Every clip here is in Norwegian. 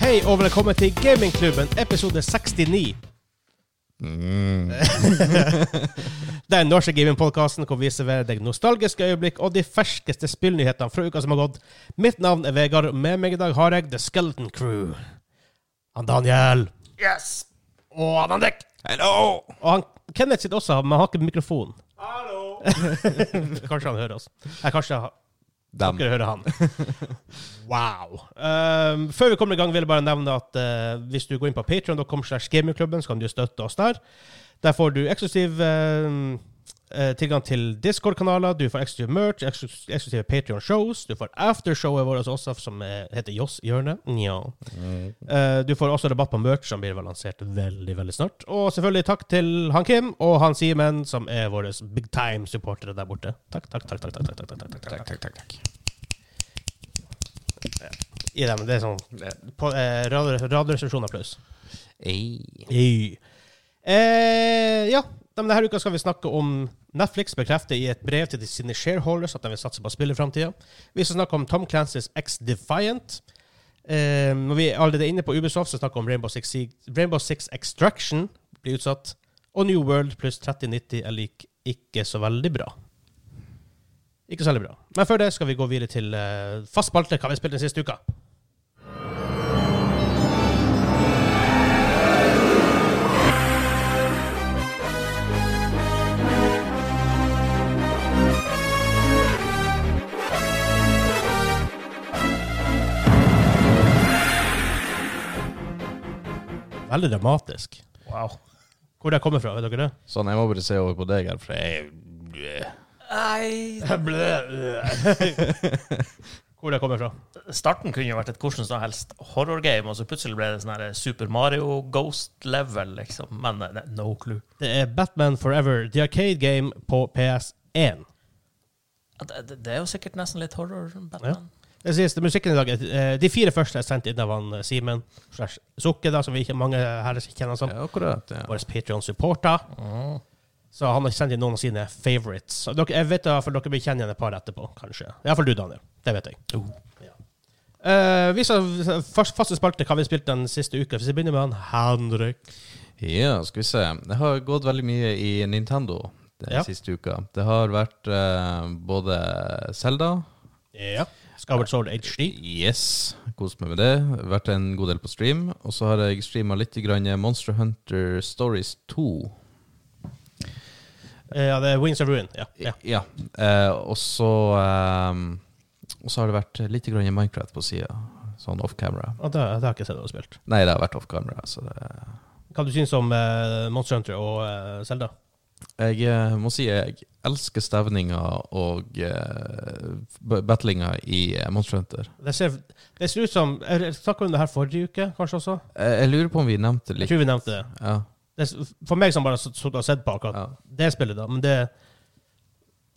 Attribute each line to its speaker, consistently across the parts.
Speaker 1: Hei og velkommen til Gamingklubben, episode 69. Den norske gamingpodkasten hvor vi serverer deg nostalgiske øyeblikk og de ferskeste spillnyhetene fra uka som har gått. Mitt navn er Vegard, og med meg i dag har jeg The Skeleton Crew. Han Daniel.
Speaker 2: Yes!
Speaker 1: Og han Andek.
Speaker 2: Hello!
Speaker 1: Og han Kenneth sitter også, men han har ikke mikrofon. Kanskje han hører oss. Nei, kanskje han-
Speaker 2: Dem.
Speaker 1: dere hører han. Wow. Um, før vi kommer i gang, vil jeg bare nevne at eh, hvis du går inn på patreon.com slash gamingklubben, så kan du støtte oss der. Der får du eksklusiv eh, eh, tilgang til Discord-kanaler, du får eksklusiv merch, eksklus- eksklusive Patreon-shows, du får aftershowet vårt også, som eh, heter Joss Hjørne. Nja. Eh, du får også rabatt på merch, som blir vel lansert veldig veldig snart. Og selvfølgelig takk til han Kim og han Simen, som er våre big time-supportere der borte. Takk, takk, takk. takk, takk, takk, takk, takk, takk, takk.
Speaker 2: Takk, takk, takk.
Speaker 1: Gi dem det er sånn på, eh, radio, Radioresepsjon applaus.
Speaker 2: Ei.
Speaker 1: Eh, ja, men denne uka skal vi snakke om Netflix bekrefter i et brev til de sine shareholders at de vil satse på spill i framtida. Vi skal snakke om Tom Clancys X Defiant. Eh, når vi er allerede inne på Ubisoft, så snakker vi om Rainbow Six, Siege- Rainbow Six Extraction blir utsatt. Og New World pluss 3090 er lik ikke så veldig bra. Ikke så veldig bra. Men før det skal vi gå videre til eh, fast spalte. Hva har vi spilt den siste uka? Veldig dramatisk. Wow. Hvor det kommer fra, vet dere det?
Speaker 3: Sånn, jeg må bare se over på deg her, for jeg
Speaker 4: Nei
Speaker 1: Hvor det kommer fra.
Speaker 4: eh, Starten kunne jo vært et hvordan som helst horrorgame, og så plutselig ble det sånn her Super Mario Ghost level, liksom. Men eh, ne- no clue.
Speaker 1: Det er Batman Forever, The Arcade Game på PS1.
Speaker 4: Ja, Det, det- det er jo sikkert nesten litt horror, Batman.
Speaker 1: Den siste musikken i dag er eh, De fire første er sendt inn av han eh, Simen slash Sukke, da, som vi ikke mange her ikke kjenner han som.
Speaker 3: Ja, akkurat. Ja.
Speaker 1: Vår Patreon-supporter. Så han har sendt inn noen av sine favorites. Og Dere, jeg vet da, for dere blir kjent igjen et par etterpå, kanskje. Iallfall du, Daniel. Det vet jeg. Ja. Eh, vi skal fast, faste spalte hva vi har spilt den siste uka. Hvis vi begynner med han Henrik.
Speaker 3: ja, skal vi se. Det har gått veldig mye i Nintendo den
Speaker 1: Ja.
Speaker 3: siste uka. Det har vært eh, både Zelda
Speaker 1: Ja. Skyward Sword HD.
Speaker 3: Yes, kost meg med det. Vært en god del på stream. Og så har jeg streama litt grann Monster Hunter Stories 2.
Speaker 1: Eh, Ja, det er Wings of Ruin. Ja. ja.
Speaker 3: Ja. Eh, og så eh, Og så har det vært litt grann Minecraft på sida. Sånn off camera.
Speaker 1: Og det, det har jeg ikke sett du har spilt.
Speaker 3: Nei, det har vært off camera. Så det
Speaker 1: Hva du synes om eh, Monster Hunter og eh, Zelda?
Speaker 3: Jeg eh, må si jeg elsker stevninga og eh, b- battlinga i eh, Monster Hunter.
Speaker 1: Det ser, det ser ut som Jeg snakka om det her forrige uke, kanskje også?
Speaker 3: Jeg, jeg lurer på om vi nevnte
Speaker 1: Jeg
Speaker 3: litt
Speaker 1: tror vi nevnte det.
Speaker 3: ja,
Speaker 1: det s- for meg som bare har sittet og sett på akkurat
Speaker 3: ja.
Speaker 1: det spillet, da, men det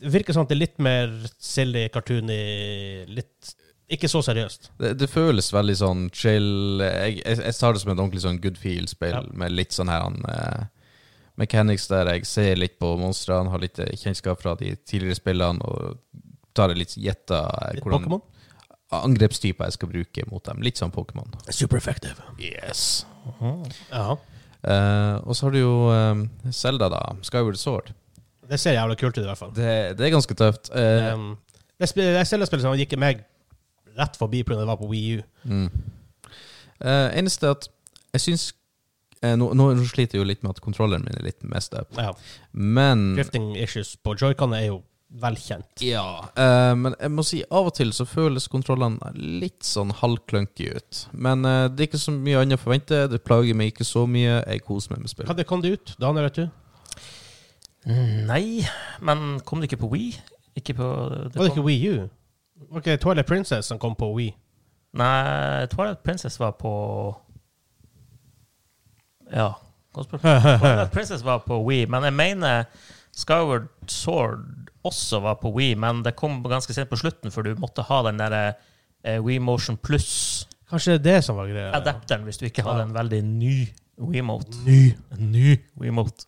Speaker 1: det virker sånn at det er litt mer silly, cartoony, litt Ikke så seriøst.
Speaker 3: Det, det føles veldig sånn chill. Jeg, jeg, jeg tar det som et ordentlig sånn good feel-spill
Speaker 1: Ja.
Speaker 3: med litt sånn her eh, mechanics der jeg ser litt på monstrene, har litt eh, kjennskap fra de tidligere spillene og tar det litt gjetta eh,
Speaker 1: Litt
Speaker 3: hvordan
Speaker 1: Pokémon.
Speaker 3: angrepstyper jeg skal bruke mot dem. Litt sånn Pokémon.
Speaker 1: Super effective.
Speaker 3: Yes.
Speaker 1: Mm, Ja.
Speaker 3: Eh, og så har du jo eh, Zelda, da. Skyward Sword.
Speaker 1: Det ser jævla kult ut, i hvert fall.
Speaker 3: Det, det er ganske tøft. Eh,
Speaker 1: Um, det sp- det Zelda-spillet som gikk meg rett forbi pga. det var på Wii U.
Speaker 3: mm. Eh, eneste at jeg syns eh, nå, nå sliter jeg jo litt med at kontrolleren min er litt messed up,
Speaker 1: Ja.
Speaker 3: men
Speaker 1: Drifting issues på joycon er jo velkjent.
Speaker 3: ja, eh, men jeg må si av og til så føles kontrollene litt sånn halvklunky ut. Men eh, det er ikke så mye annet å forvente. Det plager meg ikke så mye. Jeg koser meg med spillet.
Speaker 1: Hva kom det ut? Daniel, vet du?
Speaker 4: Mm, Nei, men kom det ikke på Wii? Ikke på det
Speaker 1: Var det
Speaker 4: kom-
Speaker 1: ikke Wii U? Var det ikke Twilight Princess som kom på Wii?
Speaker 4: Nei, Twilight Princess var på Ja. Godt spørsmål. Twilight Princess var på Wii, men jeg mener Skyward Sword også var på Wii, men det kom ganske sent på slutten, for du måtte ha den der eh, Wii Motion Plus-adapteren
Speaker 1: Kanskje det er det som var greia?
Speaker 4: hvis du ikke hadde en veldig ny Wiimote.
Speaker 1: Ny.
Speaker 4: En ny Wiimote.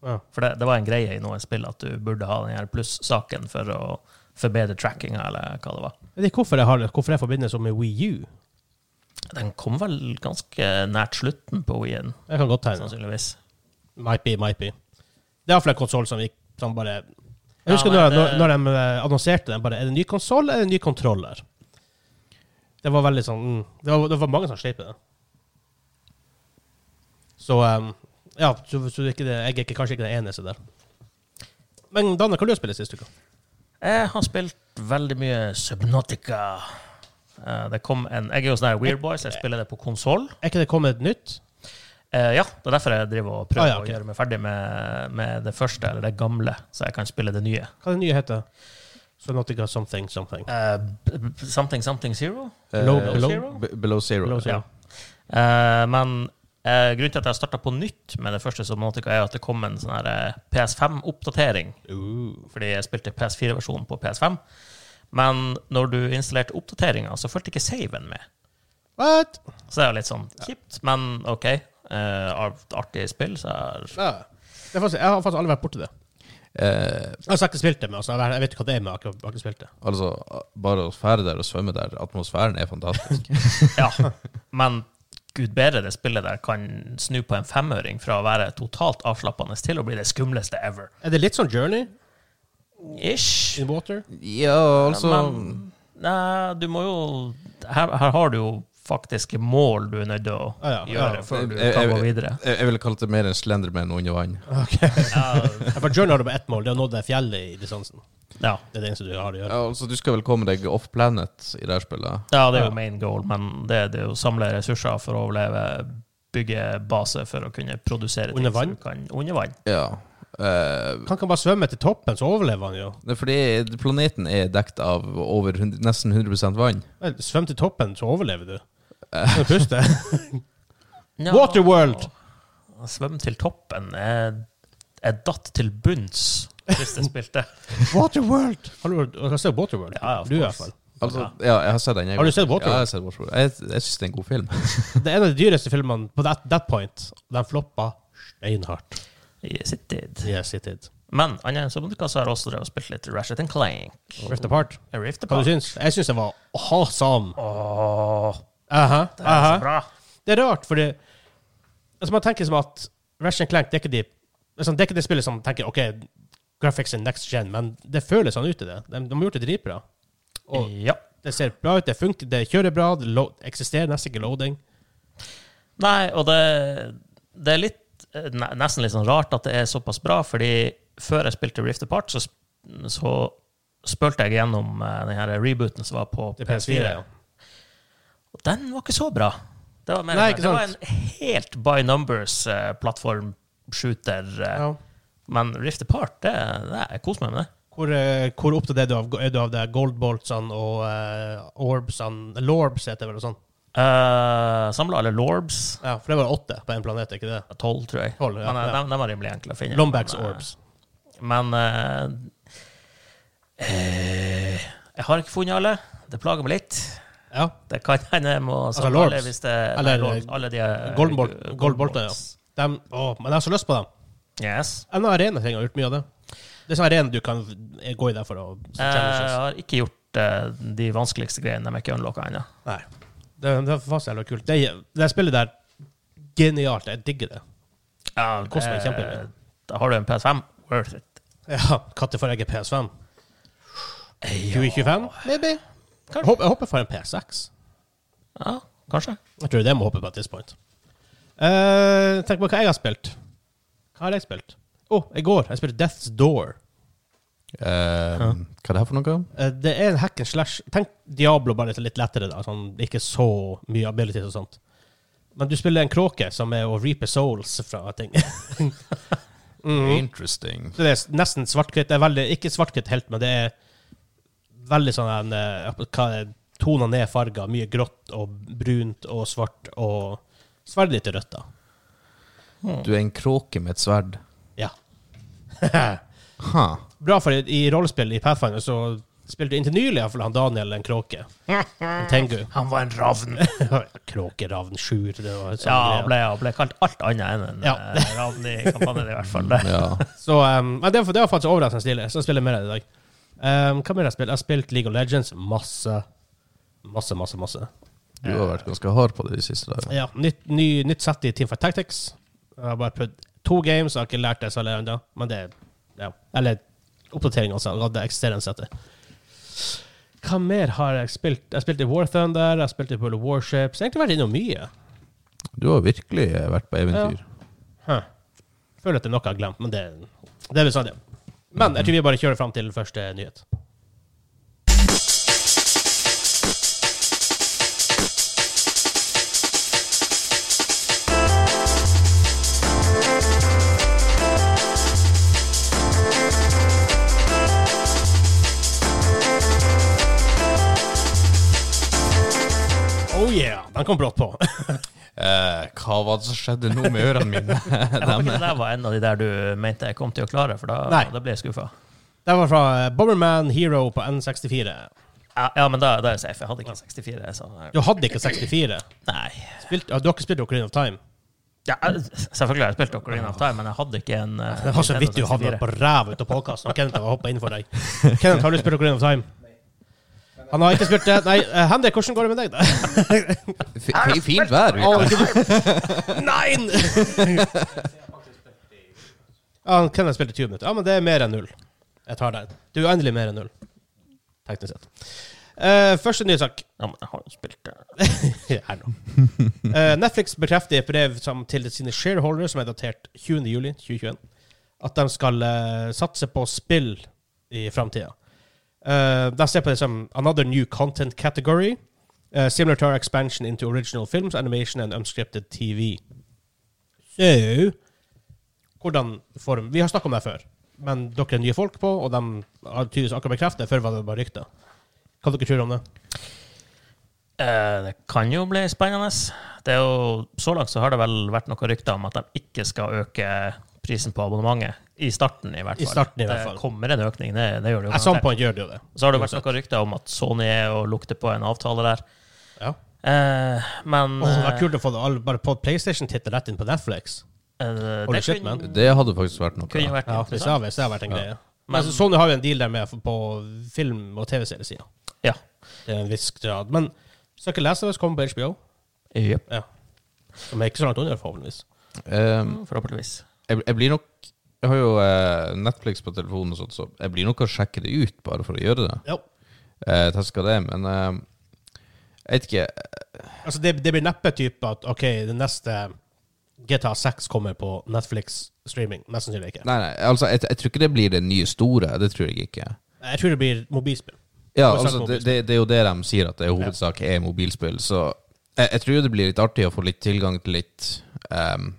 Speaker 1: Ja.
Speaker 4: For det, det var en greie i noen spill at du burde ha den her pluss-saken for å forbedre trackinga, eller hva det var.
Speaker 1: Jeg vet ikke hvorfor jeg, har det, hvorfor jeg forbinder det så med Wii U.
Speaker 4: Den kom vel ganske nært slutten på Wien,
Speaker 1: Det kan godt altså. hende.
Speaker 4: sannsynligvis.
Speaker 1: Might be, might be. Det er iallfall en konsoll som, gikk- som bare Jeg husker når,
Speaker 4: Ja, nei, det-
Speaker 1: når de eh, annonserte den, bare Er det en ny konsoll, eller er det en ny kontroller? Det var veldig sånn mm, det, var, det var mange som sleit med det. Så um, Ja, så, så det er ikke det, jeg er ikke, kanskje ikke den eneste der. Men Danne, hva har du spilt sist uke?
Speaker 4: Jeg har spilt veldig mye Subnotica. Eh, Det kom en, jeg er jo sånn her Weird Boys, jeg spiller det på konsoll.
Speaker 1: Er ikke det kommet et nytt?
Speaker 4: Eh, ja, det er derfor jeg driver og
Speaker 1: Ah,
Speaker 4: prøver
Speaker 1: ja, ok.
Speaker 4: å gjøre meg ferdig med, med det første, eller det gamle, så jeg kan spille det nye.
Speaker 1: Hva er det nye heter? Sonotica something something.
Speaker 4: Eh, b- b- something Something Zero?
Speaker 1: Below-
Speaker 3: Eh,
Speaker 1: below-
Speaker 4: Zero?
Speaker 3: be- below zero.
Speaker 1: Below zero.
Speaker 4: Ja. Eh, men eh, grunnen til at jeg starta på nytt med det første Subnotica, er at det kom en sånn her eh, PS5-oppdatering. Fordi jeg spilte PS4-versjonen på PS5. Men når du installerte oppdateringa, så fulgte ikke saven med.
Speaker 1: What?
Speaker 4: Så det er jo litt sånn kjipt, men OK. Eh, art- artig spill, så jeg
Speaker 1: Ja. Det er faktisk, jeg har faktisk aldri vært borti det.
Speaker 3: Eh,
Speaker 1: Jeg har sagt jeg spilte det, men altså, jeg vet ikke hva det er, men jeg har ikke, jeg har ikke spilt det.
Speaker 3: altså, bare å fære der og svømme der, atmosfæren er fantastisk.
Speaker 4: Ja, men gud bedre det spillet der kan snu på en femøring fra å være totalt avslappende til å bli det skumleste ever.
Speaker 1: Er det litt sånn Journey
Speaker 4: Ish.
Speaker 1: in water?
Speaker 3: ja, altså
Speaker 4: Men nei, du må jo her, her har du jo faktiske mål du er nødt til å
Speaker 1: Ah, ja,
Speaker 4: gjøre
Speaker 1: ja.
Speaker 4: før du
Speaker 3: Jeg-
Speaker 4: kan
Speaker 3: jeg-
Speaker 4: gå videre.
Speaker 3: Jeg, jeg ville kalt det mer en slenderman under vann.
Speaker 1: Ja, for Journey har du bare ett mål, det er å nå det fjellet i distansen.
Speaker 4: Ja.
Speaker 1: Det er det eneste du har å gjøre.
Speaker 3: Ja, altså, du skal vel komme deg off planet i det her spillet?
Speaker 4: ja, det er jo main goal, men det, det er jo å samle ressurser for å overleve, bygge base for å kunne produsere
Speaker 1: Under
Speaker 4: ting som
Speaker 1: vann?
Speaker 4: du kan under vann.
Speaker 3: Ja. Eh,
Speaker 1: Kan ikke han bare svømme til toppen, så overlever han jo.
Speaker 3: det er fordi planeten er dekt av over 100, nesten 100 vann.
Speaker 1: Vel, Svøm til toppen, så overlever du.
Speaker 4: Eh.
Speaker 1: Kan du puste?
Speaker 4: Ja.
Speaker 1: Waterworld!
Speaker 4: Svøm til toppen. Jeg, jeg datt til bunns sist jeg spilte.
Speaker 1: Waterworld! Har du har du sett Waterworld?
Speaker 4: Ja, ja, of
Speaker 1: du i hvert
Speaker 4: course.
Speaker 1: fall.
Speaker 3: Altså, ja, jeg har sett den. Jeg
Speaker 1: Har du sett Waterworld?
Speaker 3: Ja, jeg har sett Waterworld. Jeg, jeg syns det er en god film.
Speaker 1: Det er en av de dyreste filmene på that, that point. Den floppa steinhardt.
Speaker 4: Yes, it did.
Speaker 1: Yes, it did.
Speaker 4: Men annet enn Subnotica så har jeg også drevet og spilt litt Ratchet and Clank.
Speaker 1: Rift Apart.
Speaker 4: A
Speaker 1: Hva
Speaker 4: Rift Apart.
Speaker 1: du syns? Jeg syns den var awesome.
Speaker 4: Åh,
Speaker 1: Aha,
Speaker 4: det er
Speaker 1: aha.
Speaker 4: så bra.
Speaker 1: Det er rart, fordi altså Man tenker som at Ratchet Clank det er ikke de liksom, Det er ikke det spillet som tenker OK, graphics er next gen, men det føles sånn ut i det. De, de har gjort det dritbra. Og
Speaker 4: Ja.
Speaker 1: det ser bra ut, det funker, det kjører bra, det lo eksisterer nesten ikke loading.
Speaker 4: Nei, og det, det er litt eh, ne- nesten litt sånn rart at det er såpass bra, fordi før jeg spilte Rift Apart, så, sp- så spilte jeg gjennom eh, den her rebooten som var på
Speaker 1: Det er PS4, ja.
Speaker 4: Og den var ikke så bra. Det var, mer,
Speaker 1: Nei, ikke
Speaker 4: det var
Speaker 1: sant.
Speaker 4: en helt by numbers-plattform-shooter.
Speaker 1: ja.
Speaker 4: eh, Men Rift Apart, det, det jeg koser meg med det.
Speaker 1: Hvor, eh, hvor opptatt er du av, er du av det goldboltsene og eh, orbsene Lorbs heter det vel og sånn?
Speaker 4: Uh, Samla alle lorbs.
Speaker 1: Ja, for det var åtte på én planet, er ikke det?
Speaker 4: Tolv, tror jeg.
Speaker 1: Tolv, ja,
Speaker 4: men, eh,
Speaker 1: ja.
Speaker 4: De, de var rimelig enkle å finne.
Speaker 1: Lombax
Speaker 4: Men, eh,
Speaker 1: orbs.
Speaker 4: Men eh, eh, Jeg har ikke funnet alle. Det plager meg litt.
Speaker 1: Ja.
Speaker 4: Det kan hende jeg må
Speaker 1: Altså,
Speaker 4: samle
Speaker 1: lorbs?
Speaker 4: alle hvis det
Speaker 1: Eller,
Speaker 4: nei, lorbs, alle de eh,
Speaker 1: Goldbolt-
Speaker 4: gu-
Speaker 1: goldbolter,
Speaker 4: goldbolts.
Speaker 1: Dem, å, men jeg har så lyst på dem.
Speaker 4: Yes.
Speaker 1: En arena ting har gjort mye av det. Det er sånn arena du kan gå i der for å
Speaker 4: Eh, jeg
Speaker 1: challenges.
Speaker 4: har ikke gjort eh, de vanskeligste greiene de ikke unlocka ennå.
Speaker 1: Nei. Det, det er faktisk jævla kult. Det, det spillet der, genialt. Jeg digger det.
Speaker 4: Ja,
Speaker 1: koster meg kjempemye.
Speaker 4: Eh, Da har du en PS5. Worth it.
Speaker 1: Ja, Katte får jeg en PS5. 2025, maybe? Jeg håper, jeg håper for en PS6.
Speaker 4: Ja, kanskje.
Speaker 1: Jeg tror det må hoppe på et tidspunkt. Eh, tenk på hva jeg har spilt. Hva har jeg spilt? Å, i går. Jeg spilte Death's Door.
Speaker 3: Eh, Hva er det her for noe?
Speaker 1: Eh, det er en hack and slash Tenk Diablo bare litt lettere, da. Sånn, ikke så mye abilities og sånt. Men du spiller en kråke som er å reape souls fra ting. Mm.
Speaker 3: Interesting.
Speaker 1: Så det er nesten svart-hvitt. Det er veldig, ikke svart-hvitt helt, men det er veldig sånn en, eh, hva er det, toner ned farger. Mye grått og brunt og svart og sverdet ditt er rødt, da.
Speaker 3: Du er en kråke med et sverd.
Speaker 1: Ja.
Speaker 3: Ha.
Speaker 1: Bra, for i, i rollespill i Pathfinder så spilte du inntil nylig i hvert fall han Daniel en kråke. En tengu.
Speaker 4: Han var en ravn.
Speaker 1: Kråkeravn, sjur det var sånn
Speaker 4: Ja,
Speaker 1: greier.
Speaker 4: han ble, han ble kalt alt annet enn en
Speaker 1: Ja.
Speaker 4: eh, ravn i kampanjen, i hvert fall. Det.
Speaker 3: Ja.
Speaker 1: Så, um, men det, var- det var faktisk overraskende stille, så jeg spiller mer i dag. Um, hva mer har jeg spilt? Jeg har spilt League of Legends masse. Masse, masse, masse.
Speaker 3: Du har vært ganske hard på det de siste dagene.
Speaker 1: Ja, nytt, ny, nytt sett i Team Fight Tactics. Jeg har bare prøvd to games, jeg har ikke lært det særlig ennå. Men det ja. Eller oppdatering, altså. av Det eksisterende settet. Hva mer har jeg spilt? Jeg spilte i War Thunder, jeg spilte i Pool of Warships. Jeg har egentlig vært innom mye.
Speaker 3: Du har virkelig eh, vært på eventyr.
Speaker 1: Huh. Føler at det er noe jeg har glemt, men det, det er vel sånn, det. Men jeg tror vi bare kjører fram til første nyhet. Oh yeah! Den kom brått på.
Speaker 3: Eh, hva var det som skjedde nå med ørene mine?
Speaker 4: Jeg håper ikke det der var en av de der du mente jeg kom til å klare, for da,
Speaker 1: Nei.
Speaker 4: da ble jeg skuffa.
Speaker 1: Det var fra Bomberman Hero på N64.
Speaker 4: Ja, ja, men da, da er jeg safe. Jeg hadde ikke 64. Så,
Speaker 1: Du hadde ikke 64.
Speaker 4: nei.
Speaker 1: Spilt, ja, du har ikke spilt Ocarina of Time?
Speaker 4: Ja, selvfølgelig har jeg spilt Ocarina of Time, men jeg hadde ikke en eh,
Speaker 1: Det var så vidt Altså, du
Speaker 4: Nintendo
Speaker 1: havna
Speaker 4: 64.
Speaker 1: på ræva ut av podkasten. Kenneth har hoppa innenfor deg. Kenneth, har du spilt Ocarina of Time? Han har ikke spilt det. Nei, eh, Henrik, hvordan går det med deg, da?
Speaker 3: F f- fint vær ute.
Speaker 1: Å, ikke du- Nein! Ja, han Kenneth spilte 20 minutter. Ja, men det er mer enn null. Jeg tar den. Du er endelig mer enn null. Teknisk sett. Eh, første nye sak.
Speaker 4: Ja, men jeg har jo spilt eh, det.
Speaker 1: her nå. Eh, Netflix bekrefter i et brev som til sine shareholdere, som er datert 20. juli 2021, at de skal eh, satse på spill i framtida. de ser på det som another new content category, eh, similar to our expansion into original films, animation and unscripted TV. Så hvordan form Vi har snakka om det før, men dere er nye folk på, og de har tydeligvis akkurat bekreftet det. Før var det bare rykter. Hva dere tror om det?
Speaker 4: Eh, det kan jo bli spennende. Det er jo, så langt så har det vel vært noen rykter om at de ikke skal øke prisen på abonnementet. I starten, i hvert
Speaker 1: I
Speaker 4: fall.
Speaker 1: starten i hvert fall.
Speaker 4: Det kommer en økning, det, det gjør det jo.
Speaker 1: At some
Speaker 4: garantert.
Speaker 1: point gjør det jo det.
Speaker 4: Så har det vært noen rykter om at Sony er og lukter på en avtale der.
Speaker 1: Ja.
Speaker 4: Eh, men
Speaker 1: Åh, det
Speaker 4: eh,
Speaker 1: var kult å få det all, bare på PlayStation-tittel rett inn på Netflix.
Speaker 4: eh,
Speaker 1: Holy
Speaker 4: det
Speaker 1: shit,
Speaker 4: kunne,
Speaker 1: man.
Speaker 3: Det hadde faktisk vært noe.
Speaker 4: kunne jo vært
Speaker 1: Ja, hvis det
Speaker 4: interessant.
Speaker 1: har, hvis det har vært en greie. Men,
Speaker 4: Men-
Speaker 1: altså, Sony har jo en deal der med på film- og TV-seriesida.
Speaker 4: Ja.
Speaker 1: Det er en viss grad. Men Sucker Lazarus kommer på HBO.
Speaker 4: Jep,
Speaker 1: Ja. Som er ikke så langt under, forhåpentligvis.
Speaker 3: Um,
Speaker 4: forhåpentligvis.
Speaker 3: jeg, jeg blir nok Jeg har jo eh, Netflix på telefonen og sånt, så jeg blir nok å sjekke det ut bare for å gjøre det.
Speaker 1: Ja.
Speaker 3: Eh, Teska det, men eh, jeg vet ikke.
Speaker 1: Altså, det, det blir neppe type at OK, det neste GTA 6 kommer på Netflix-streaming. Mest sannsynlig ikke.
Speaker 3: Nei, nei, altså, jeg, jeg tror ikke det blir det nye store. Det tror jeg ikke.
Speaker 1: Jeg tror det blir mobilspill.
Speaker 3: Ja,
Speaker 1: Hovedsak
Speaker 3: altså, det, det, det er jo det de sier, at det er hovedsak er mobilspill. Så jeg, jeg tror det blir litt artig å få litt tilgang til litt ehm,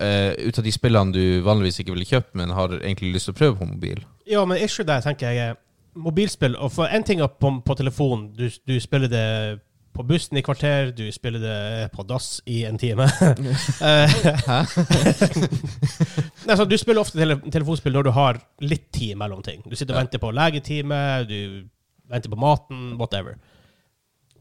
Speaker 3: eh, Ut av de spillene du vanligvis ikke ville kjøpt, men har egentlig lyst til å prøve på mobil.
Speaker 1: Ja, men issue der tenker jeg er mobilspill. Og for en ting er på, på telefon, du, du spiller det på bussen i kvarter, du spiller det på dass i en time. Hæ? Nei, så du spiller ofte tele telefonspill når du har litt tid mellom ting. Du sitter og venter på legetime, du venter på maten, whatever.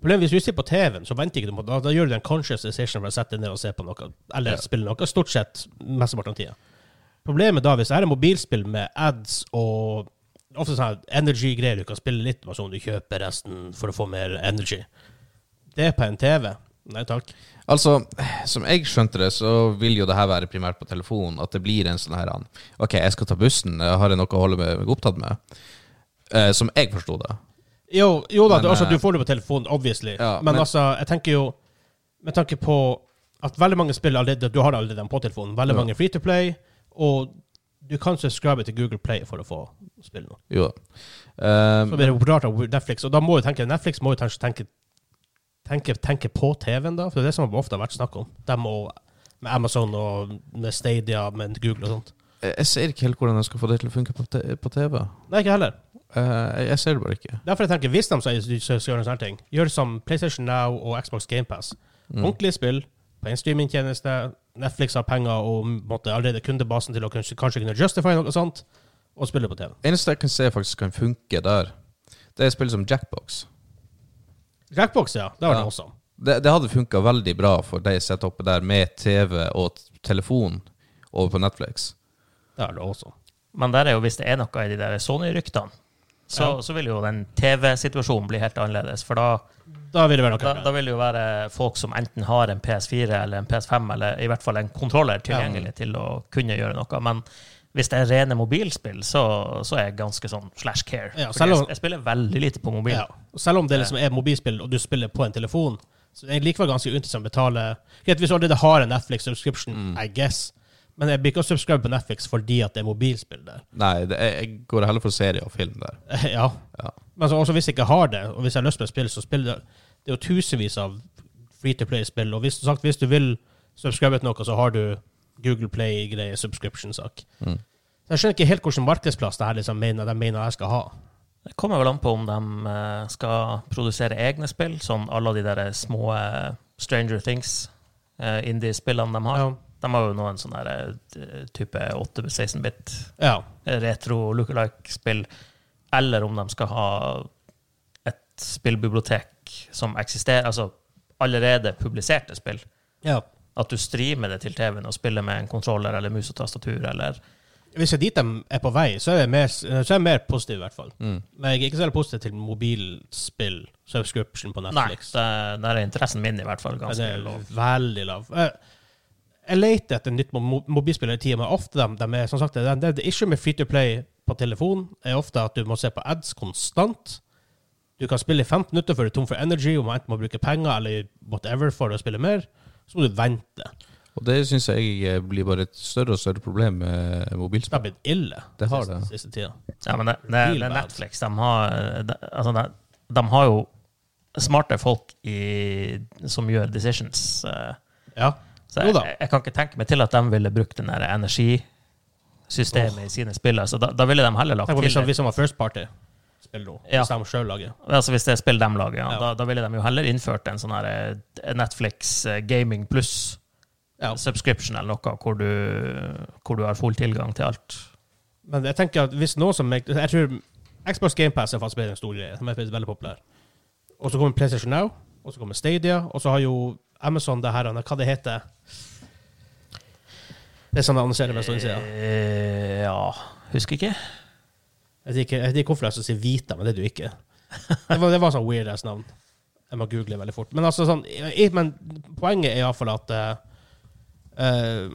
Speaker 1: Problemet hvis du sitter på TV-en, så venter ikke du på da, da gjør du en conscious decision for å sette deg ned og se på noe, eller spille noe, stort sett mesteparten av tida. Problemet da, hvis det er en mobilspill med ads og ofte sånne energy-greier du kan spille litt med, sånn du kjøper resten for å få mer energy. Det på en TV. Nei takk.
Speaker 3: Altså, som jeg skjønte det, så vil jo det her være primært på telefonen. At det blir en sånn her an, Ok, jeg skal ta bussen. jeg Har jeg noe å holde meg meg opptatt med? Eh, som jeg forsto det.
Speaker 1: Jo, jo da,
Speaker 3: Men,
Speaker 1: du, altså,
Speaker 3: eh,
Speaker 1: du får det på telefonen, obviously.
Speaker 3: Ja,
Speaker 1: men,
Speaker 3: men-
Speaker 1: altså, jeg tenker jo Med tanke på at veldig mange spill allerede Du har allerede dem på telefonen. Veldig
Speaker 3: Ja.
Speaker 1: mange free to play. Og du kan subscribe til Google Play for å få spille noe.
Speaker 3: Jo. Eh,
Speaker 1: Så blir det rart av Netflix. Og da må jo tenke Netflix må jo kanskje tenke Tenke, tenke på TV-en, da. For det er det som ofte har vært snakk om. Dem og med Amazon og med Stadia, med Google og sånt.
Speaker 3: jeg, jeg ser ikke helt hvordan jeg skal få det til å funke på, te på TV.
Speaker 1: Nei, ikke heller.
Speaker 3: Eh, jeg, jeg ser det bare ikke.
Speaker 1: Derfor jeg tenker hvis de sier de skal gjøre en sånn ting, gjør som PlayStation Now og Xbox GamePass. Ordentlige spill på en streamingtjeneste. Netflix har penger og måtte allerede kundebasen til å kanskje, kanskje kunne justify noe sånt, og spille på TV.
Speaker 3: Eneste jeg kan se faktisk kan funke der, det er spill som Jackbox.
Speaker 1: Jackbox, ja. Det var
Speaker 3: Ja.
Speaker 1: det også.
Speaker 3: Det, det hadde funka veldig bra for de setupet der med TV og t- telefon over på Netflix.
Speaker 1: Det var det også.
Speaker 4: Men der er jo hvis det er noe i de der Sony-ryktene, så, så vil jo den TV-situasjonen bli helt annerledes. For da,
Speaker 1: Da vil det være noe.
Speaker 4: da, da vil det jo være folk som enten har en PS4 eller en PS5, eller i hvert fall en kontroller tilgjengelig til å kunne gjøre noe. Men hvis det er rene mobilspill, så, så er jeg ganske sånn slash care.
Speaker 1: Ja,
Speaker 4: Fordi
Speaker 1: selv om-
Speaker 4: jeg, jeg spiller veldig lite på mobil.
Speaker 1: Ja. Og selv om det liksom er mobilspill, og du spiller på en telefon, så er det likevel ganske uinteressant å betale Greit, hvis du allerede har en Netflix-subscription,
Speaker 3: Mm.
Speaker 1: I guess, men jeg blir ikke å subscribe på Netflix fordi at det er mobilspill der.
Speaker 3: Nei, det, jeg, jeg går heller for serie og film der.
Speaker 1: ja.
Speaker 3: Ja.
Speaker 1: Men så også hvis jeg ikke har det, og hvis jeg har lyst på et spill, så spiller det Det er jo tusenvis av free to play-spill, og hvis, som sagt, hvis du vil subscribe til noe, så har du Google Play-greie, subscription-sak.
Speaker 3: Mm.
Speaker 1: Så Jeg skjønner ikke helt hvilken markedsplass det her liksom mener, de mener jeg skal ha.
Speaker 4: Det kommer vel an på om de eh, skal produsere egne spill, sånn alle de der små eh, Stranger Things, eh, indie-spillene de har.
Speaker 1: Ja.
Speaker 4: De har jo noen sånne der, eh, type 8-16-bit
Speaker 1: ja.
Speaker 4: retro look-alike-spill, eller om de skal ha et spillbibliotek som eksisterer, altså allerede publiserte spill.
Speaker 1: ja.
Speaker 4: At du streamer det til TV-en og spiller med en kontroller eller mus og tastatur eller
Speaker 1: Hvis det er dit de er på vei, så er jeg mer, så er jeg mer positiv, i hvert fall.
Speaker 3: Mm.
Speaker 1: Men jeg er ikke så veldig positiv til mobilspill, subscription på
Speaker 4: Nei,
Speaker 1: Netflix.
Speaker 4: det, der er interessen min i hvert fall ganske
Speaker 1: det er
Speaker 4: lav.
Speaker 1: veldig lav. Jeg, jeg leter etter nytt mo- mobilspill hele tida, men ofte dem, dem er som sagt, det, det, det issue med free to play på telefon er ofte at du må se på ads konstant. Du kan spille i 15 minutter før du er tom for energy, og må enten må bruke penger eller whatever for å spille mer. Så må du vente.
Speaker 3: Og det syns jeg eh, blir bare et større og større problem med eh,
Speaker 1: Det har
Speaker 3: mobilspill.
Speaker 1: blitt ille
Speaker 3: Det har
Speaker 1: siste,
Speaker 3: det.
Speaker 1: siste tida.
Speaker 4: Ja, men det, det, det er Netflix. De har, de, altså de, de har jo smarte folk i, som gjør decisions. eh,
Speaker 1: Ja.
Speaker 4: Så
Speaker 1: Jo
Speaker 4: jeg,
Speaker 1: da.
Speaker 4: jeg kan ikke tenke meg til at de ville brukt den der energisystemet i sine spill. Så da, da ville de heller lagt
Speaker 1: Tenk på hvis
Speaker 4: til
Speaker 1: han- hvis han var first party. Spill nå.
Speaker 4: Ja.
Speaker 1: Hvis de selv lager.
Speaker 4: Altså Hvis det er spill de lager, ja,
Speaker 1: Ja.
Speaker 4: Da, da ville de jo heller innført en sånn her eh, Netflix eh, gaming pluss
Speaker 1: Ja.
Speaker 4: subscription eller noe, hvor du, hvor du har full tilgang til alt.
Speaker 1: Men jeg tenker at hvis noe som Jeg, jeg tror Xbox GamePass er faktisk en stor greie. Den er faktisk veldig populær. Og så kommer PlayStation Now, og så kommer Stadia, og så har jo Amazon det her Hva det heter Det som de annonserer mest på sida.
Speaker 4: Eh, ja Husker ikke.
Speaker 1: Jeg vet ikke jeg vet ikke hvorfor jeg skal si Vita, men det er du ikke. Det var, det var sånn weird ass navn. Jeg må google veldig fort. Men, altså, sånn, jeg, men poenget er iallfall at eh, eh,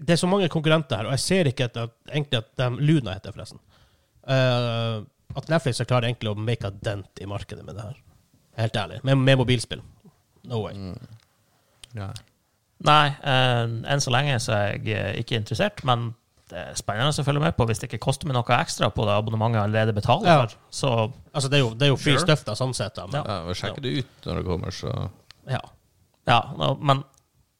Speaker 1: Det er så mange konkurrenter her, og jeg ser ikke at, at, egentlig at de Luna heter, forresten. Eh, at Netflix har klart egentlig å make a dent i markedet med det her. Helt ærlig. Med, med mobilspill. No way.
Speaker 3: Ja.
Speaker 4: Nei, eh, enn så lenge så er jeg eh, ikke interessert, men det er spennende å følge med på hvis det ikke koster meg noe ekstra på det abonnementet jeg allerede betaler
Speaker 1: Ja.
Speaker 4: for. Så
Speaker 1: Altså, det er jo, det er jo free
Speaker 4: Sure.
Speaker 1: stuff, da, sånn sett. Da, men,
Speaker 3: Ja, men Sjekk det ut når det kommer, så
Speaker 1: ja.
Speaker 4: ja, nå- men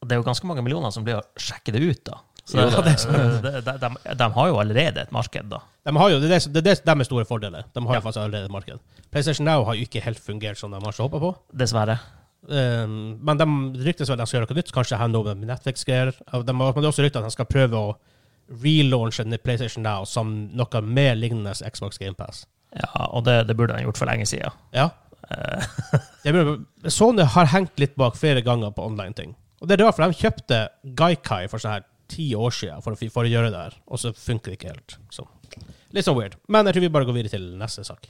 Speaker 4: det er jo ganske mange millioner som blir å sjekke det sånn ut, da. Så
Speaker 1: Jo, det er
Speaker 4: de, de, de har jo allerede et marked, da.
Speaker 1: De har jo, det er det, det er det som er store fordeler. De har jo faktisk allerede et marked. PlayStation Now har jo ikke helt fungert som de har så håpa på.
Speaker 4: Dessverre.
Speaker 1: Um, men de ryktes vel at de skal gjøre noe nytt. Kanskje hende over med Netflix-greier. Og De har men det er også ryktet at de skal prøve å relaunche den i PlayStation Now som noe mer lignende som Xbox GamePass.
Speaker 4: Ja, og det, det burde de gjort for lenge siden.
Speaker 1: Ja.
Speaker 4: Eh,
Speaker 1: Jeg mener, Sony har hengt litt bak flere ganger på online-ting. Og det er rart, for de kjøpte Gaikai for sånn her ti år siden for å, fi- for å gjøre det her, og så funker det ikke helt. Så. Litt sånn weird. Men jeg tror vi bare går videre til neste sak.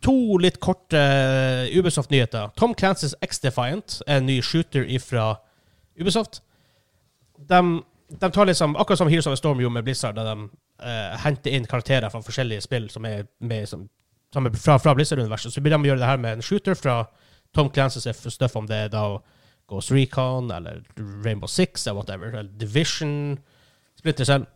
Speaker 1: to litt korte eh, Ubisoft-nyheter. Tom Clancy's X-Defiant er en ny shooter ifra Ubisoft. De, de tar liksom, akkurat som Heroes of the Storm gjorde med Blizzard, da de eh, henter inn karakterer fra forskjellige spill som er, med, som, som er fra, fra Blizzard-universet, så blir de å gjøre det her med en shooter fra Tom Clancy's stuff, om det er da Ghost Recon eller Rainbow Six eller whatever, eller Division Splitter selv.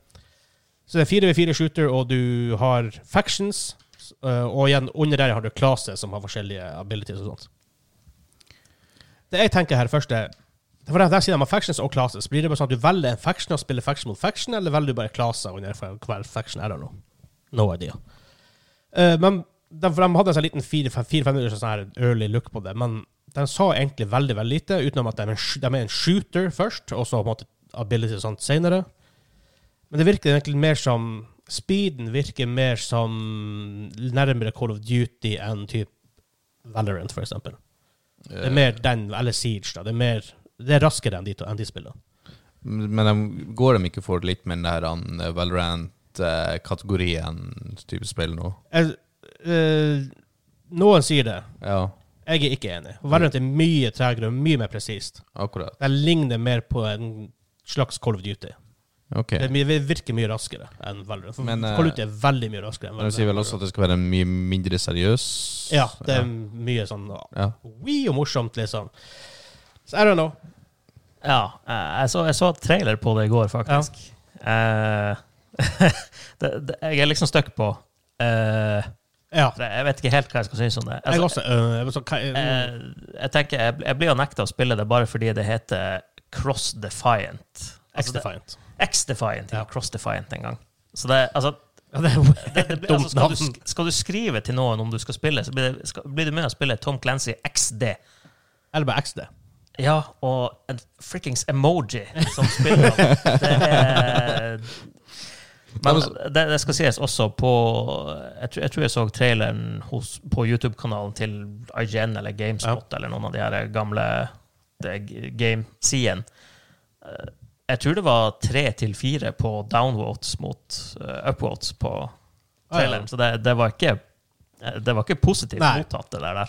Speaker 1: Så det er fire ved fire shooter, og du har factions. s- eh, Og igjen, under der har du klase som har forskjellige abilities og sånt. Det jeg tenker her først, er For der sier de at factions og classes. Blir det bare sånn at du velger en faction og spiller faction mot faction, eller velger du bare klaser under for hver faction? I don't know. No idea. Eh, men de, for de hadde en sånn liten 4-5 minutters sånn her early look på det, men de sa egentlig veldig veldig lite, utenom at de er en, sh- de er en shooter først, og så på en måte ability og sånt senere. Men det virker egentlig mer som Speeden virker mer som nærmere Call of Duty enn typ Valorant, for eksempel.
Speaker 3: eh,
Speaker 1: Det er mer den, eller Siege, da. Det er, mer, det er raskere enn de, to- enn de spillene.
Speaker 3: Men de, går de ikke for litt mer den her han, eh, Valorant-kategorien type spill nå?
Speaker 1: Jeg- eh, noen sier det.
Speaker 3: Ja,
Speaker 1: Jeg er ikke enig. Valorant er mye tregere og mye mer presist.
Speaker 3: akkurat.
Speaker 1: Det ligner mer på en slags Call of Duty.
Speaker 3: Ok.
Speaker 1: Det er mye- Det virker mye raskere enn Valorant. For
Speaker 3: Men, eh,
Speaker 1: Call of Duty er veldig mye raskere enn
Speaker 3: Men de sier vel
Speaker 1: Valorant.
Speaker 3: også at det skal være mye mindre seriøs?
Speaker 1: Ja, det er mye sånn
Speaker 3: Ja.
Speaker 1: wee og morsomt, liksom. Så I don't know.
Speaker 4: Ja, eh, jeg så, jeg så trailer på det i går, faktisk. Eh, det, det, jeg er liksom stuck på eh,
Speaker 1: Ja.
Speaker 4: for Jeg vet ikke helt hva jeg skal synes om det.
Speaker 1: Jeg
Speaker 4: Altså,
Speaker 1: også. øh, jeg var sånn, hva- øh,
Speaker 4: Eh, jeg tenker, jeg, jeg blir jo nekta å spille det bare fordi det heter Cross Defiant. Altså, det-
Speaker 1: X-Defiant.
Speaker 4: X-Defiant, ikke
Speaker 1: Ja.
Speaker 4: Cross Defiant engang. Så det, altså,
Speaker 1: Ja, det er
Speaker 4: det, det,
Speaker 1: et
Speaker 4: blir- altså
Speaker 1: dumt
Speaker 4: skal, du,
Speaker 1: navn.
Speaker 4: sk- skal du skrive til noen om du skal spille, så blir det, skal, blir det med å spille Tom Clancy XD.
Speaker 1: Eller bare XD.
Speaker 4: Ja, og en frikkings emoji som spiller opp. Det er men det, det skal sies også på Jeg tror jeg, tror jeg så traileren hos, på YouTube-kanalen til IGN eller GameSpot eller noen av de her gamle det- game-sidene. Eh, Jeg tror det var tre til fire på downvotes mot eh, upvotes på
Speaker 1: Ah, ja.
Speaker 4: traileren. Så det, det var ikke eh, det var ikke positivt
Speaker 1: Nei.
Speaker 4: mottatt, det der.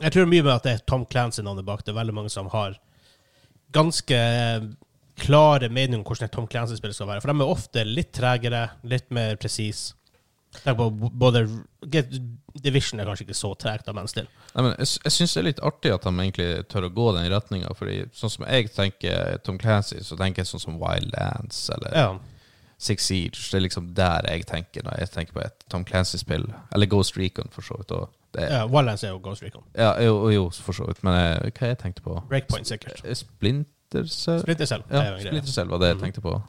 Speaker 1: Jeg tror mye med at det er Tom Clancy-navnet bak. Det er veldig mange som har ganske eh, klare meninger om hvordan et Tom Clancy-spill skal være. For de er ofte litt tregere, litt mer presis. Tenk på b- både Get- Division er kanskje ikke så tregt, da, men still.
Speaker 3: Nei, men jeg, sy- jeg syns det er litt artig at de egentlig tør å gå den retninga. Fordi sånn som jeg tenker Tom Clancy, så tenker jeg sånn som Wildlands eller
Speaker 1: Ja.
Speaker 3: Six Siege. Det er liksom der jeg tenker når jeg tenker på et Tom Clancy-spill. Eller Ghost Recon, for så vidt. Og det, ja.
Speaker 1: ja Wildlands er jo Ghost Recon.
Speaker 3: jo, jo, for så vidt. Men eh, hva jeg tenkte på?
Speaker 1: Breakpoint, sikkert.
Speaker 3: Splinter Cell?
Speaker 1: Splitter selv. Det er
Speaker 3: Eh, Ja,
Speaker 1: jo en greie. Mhm.
Speaker 3: Splinter Cell var det jeg tenkte på.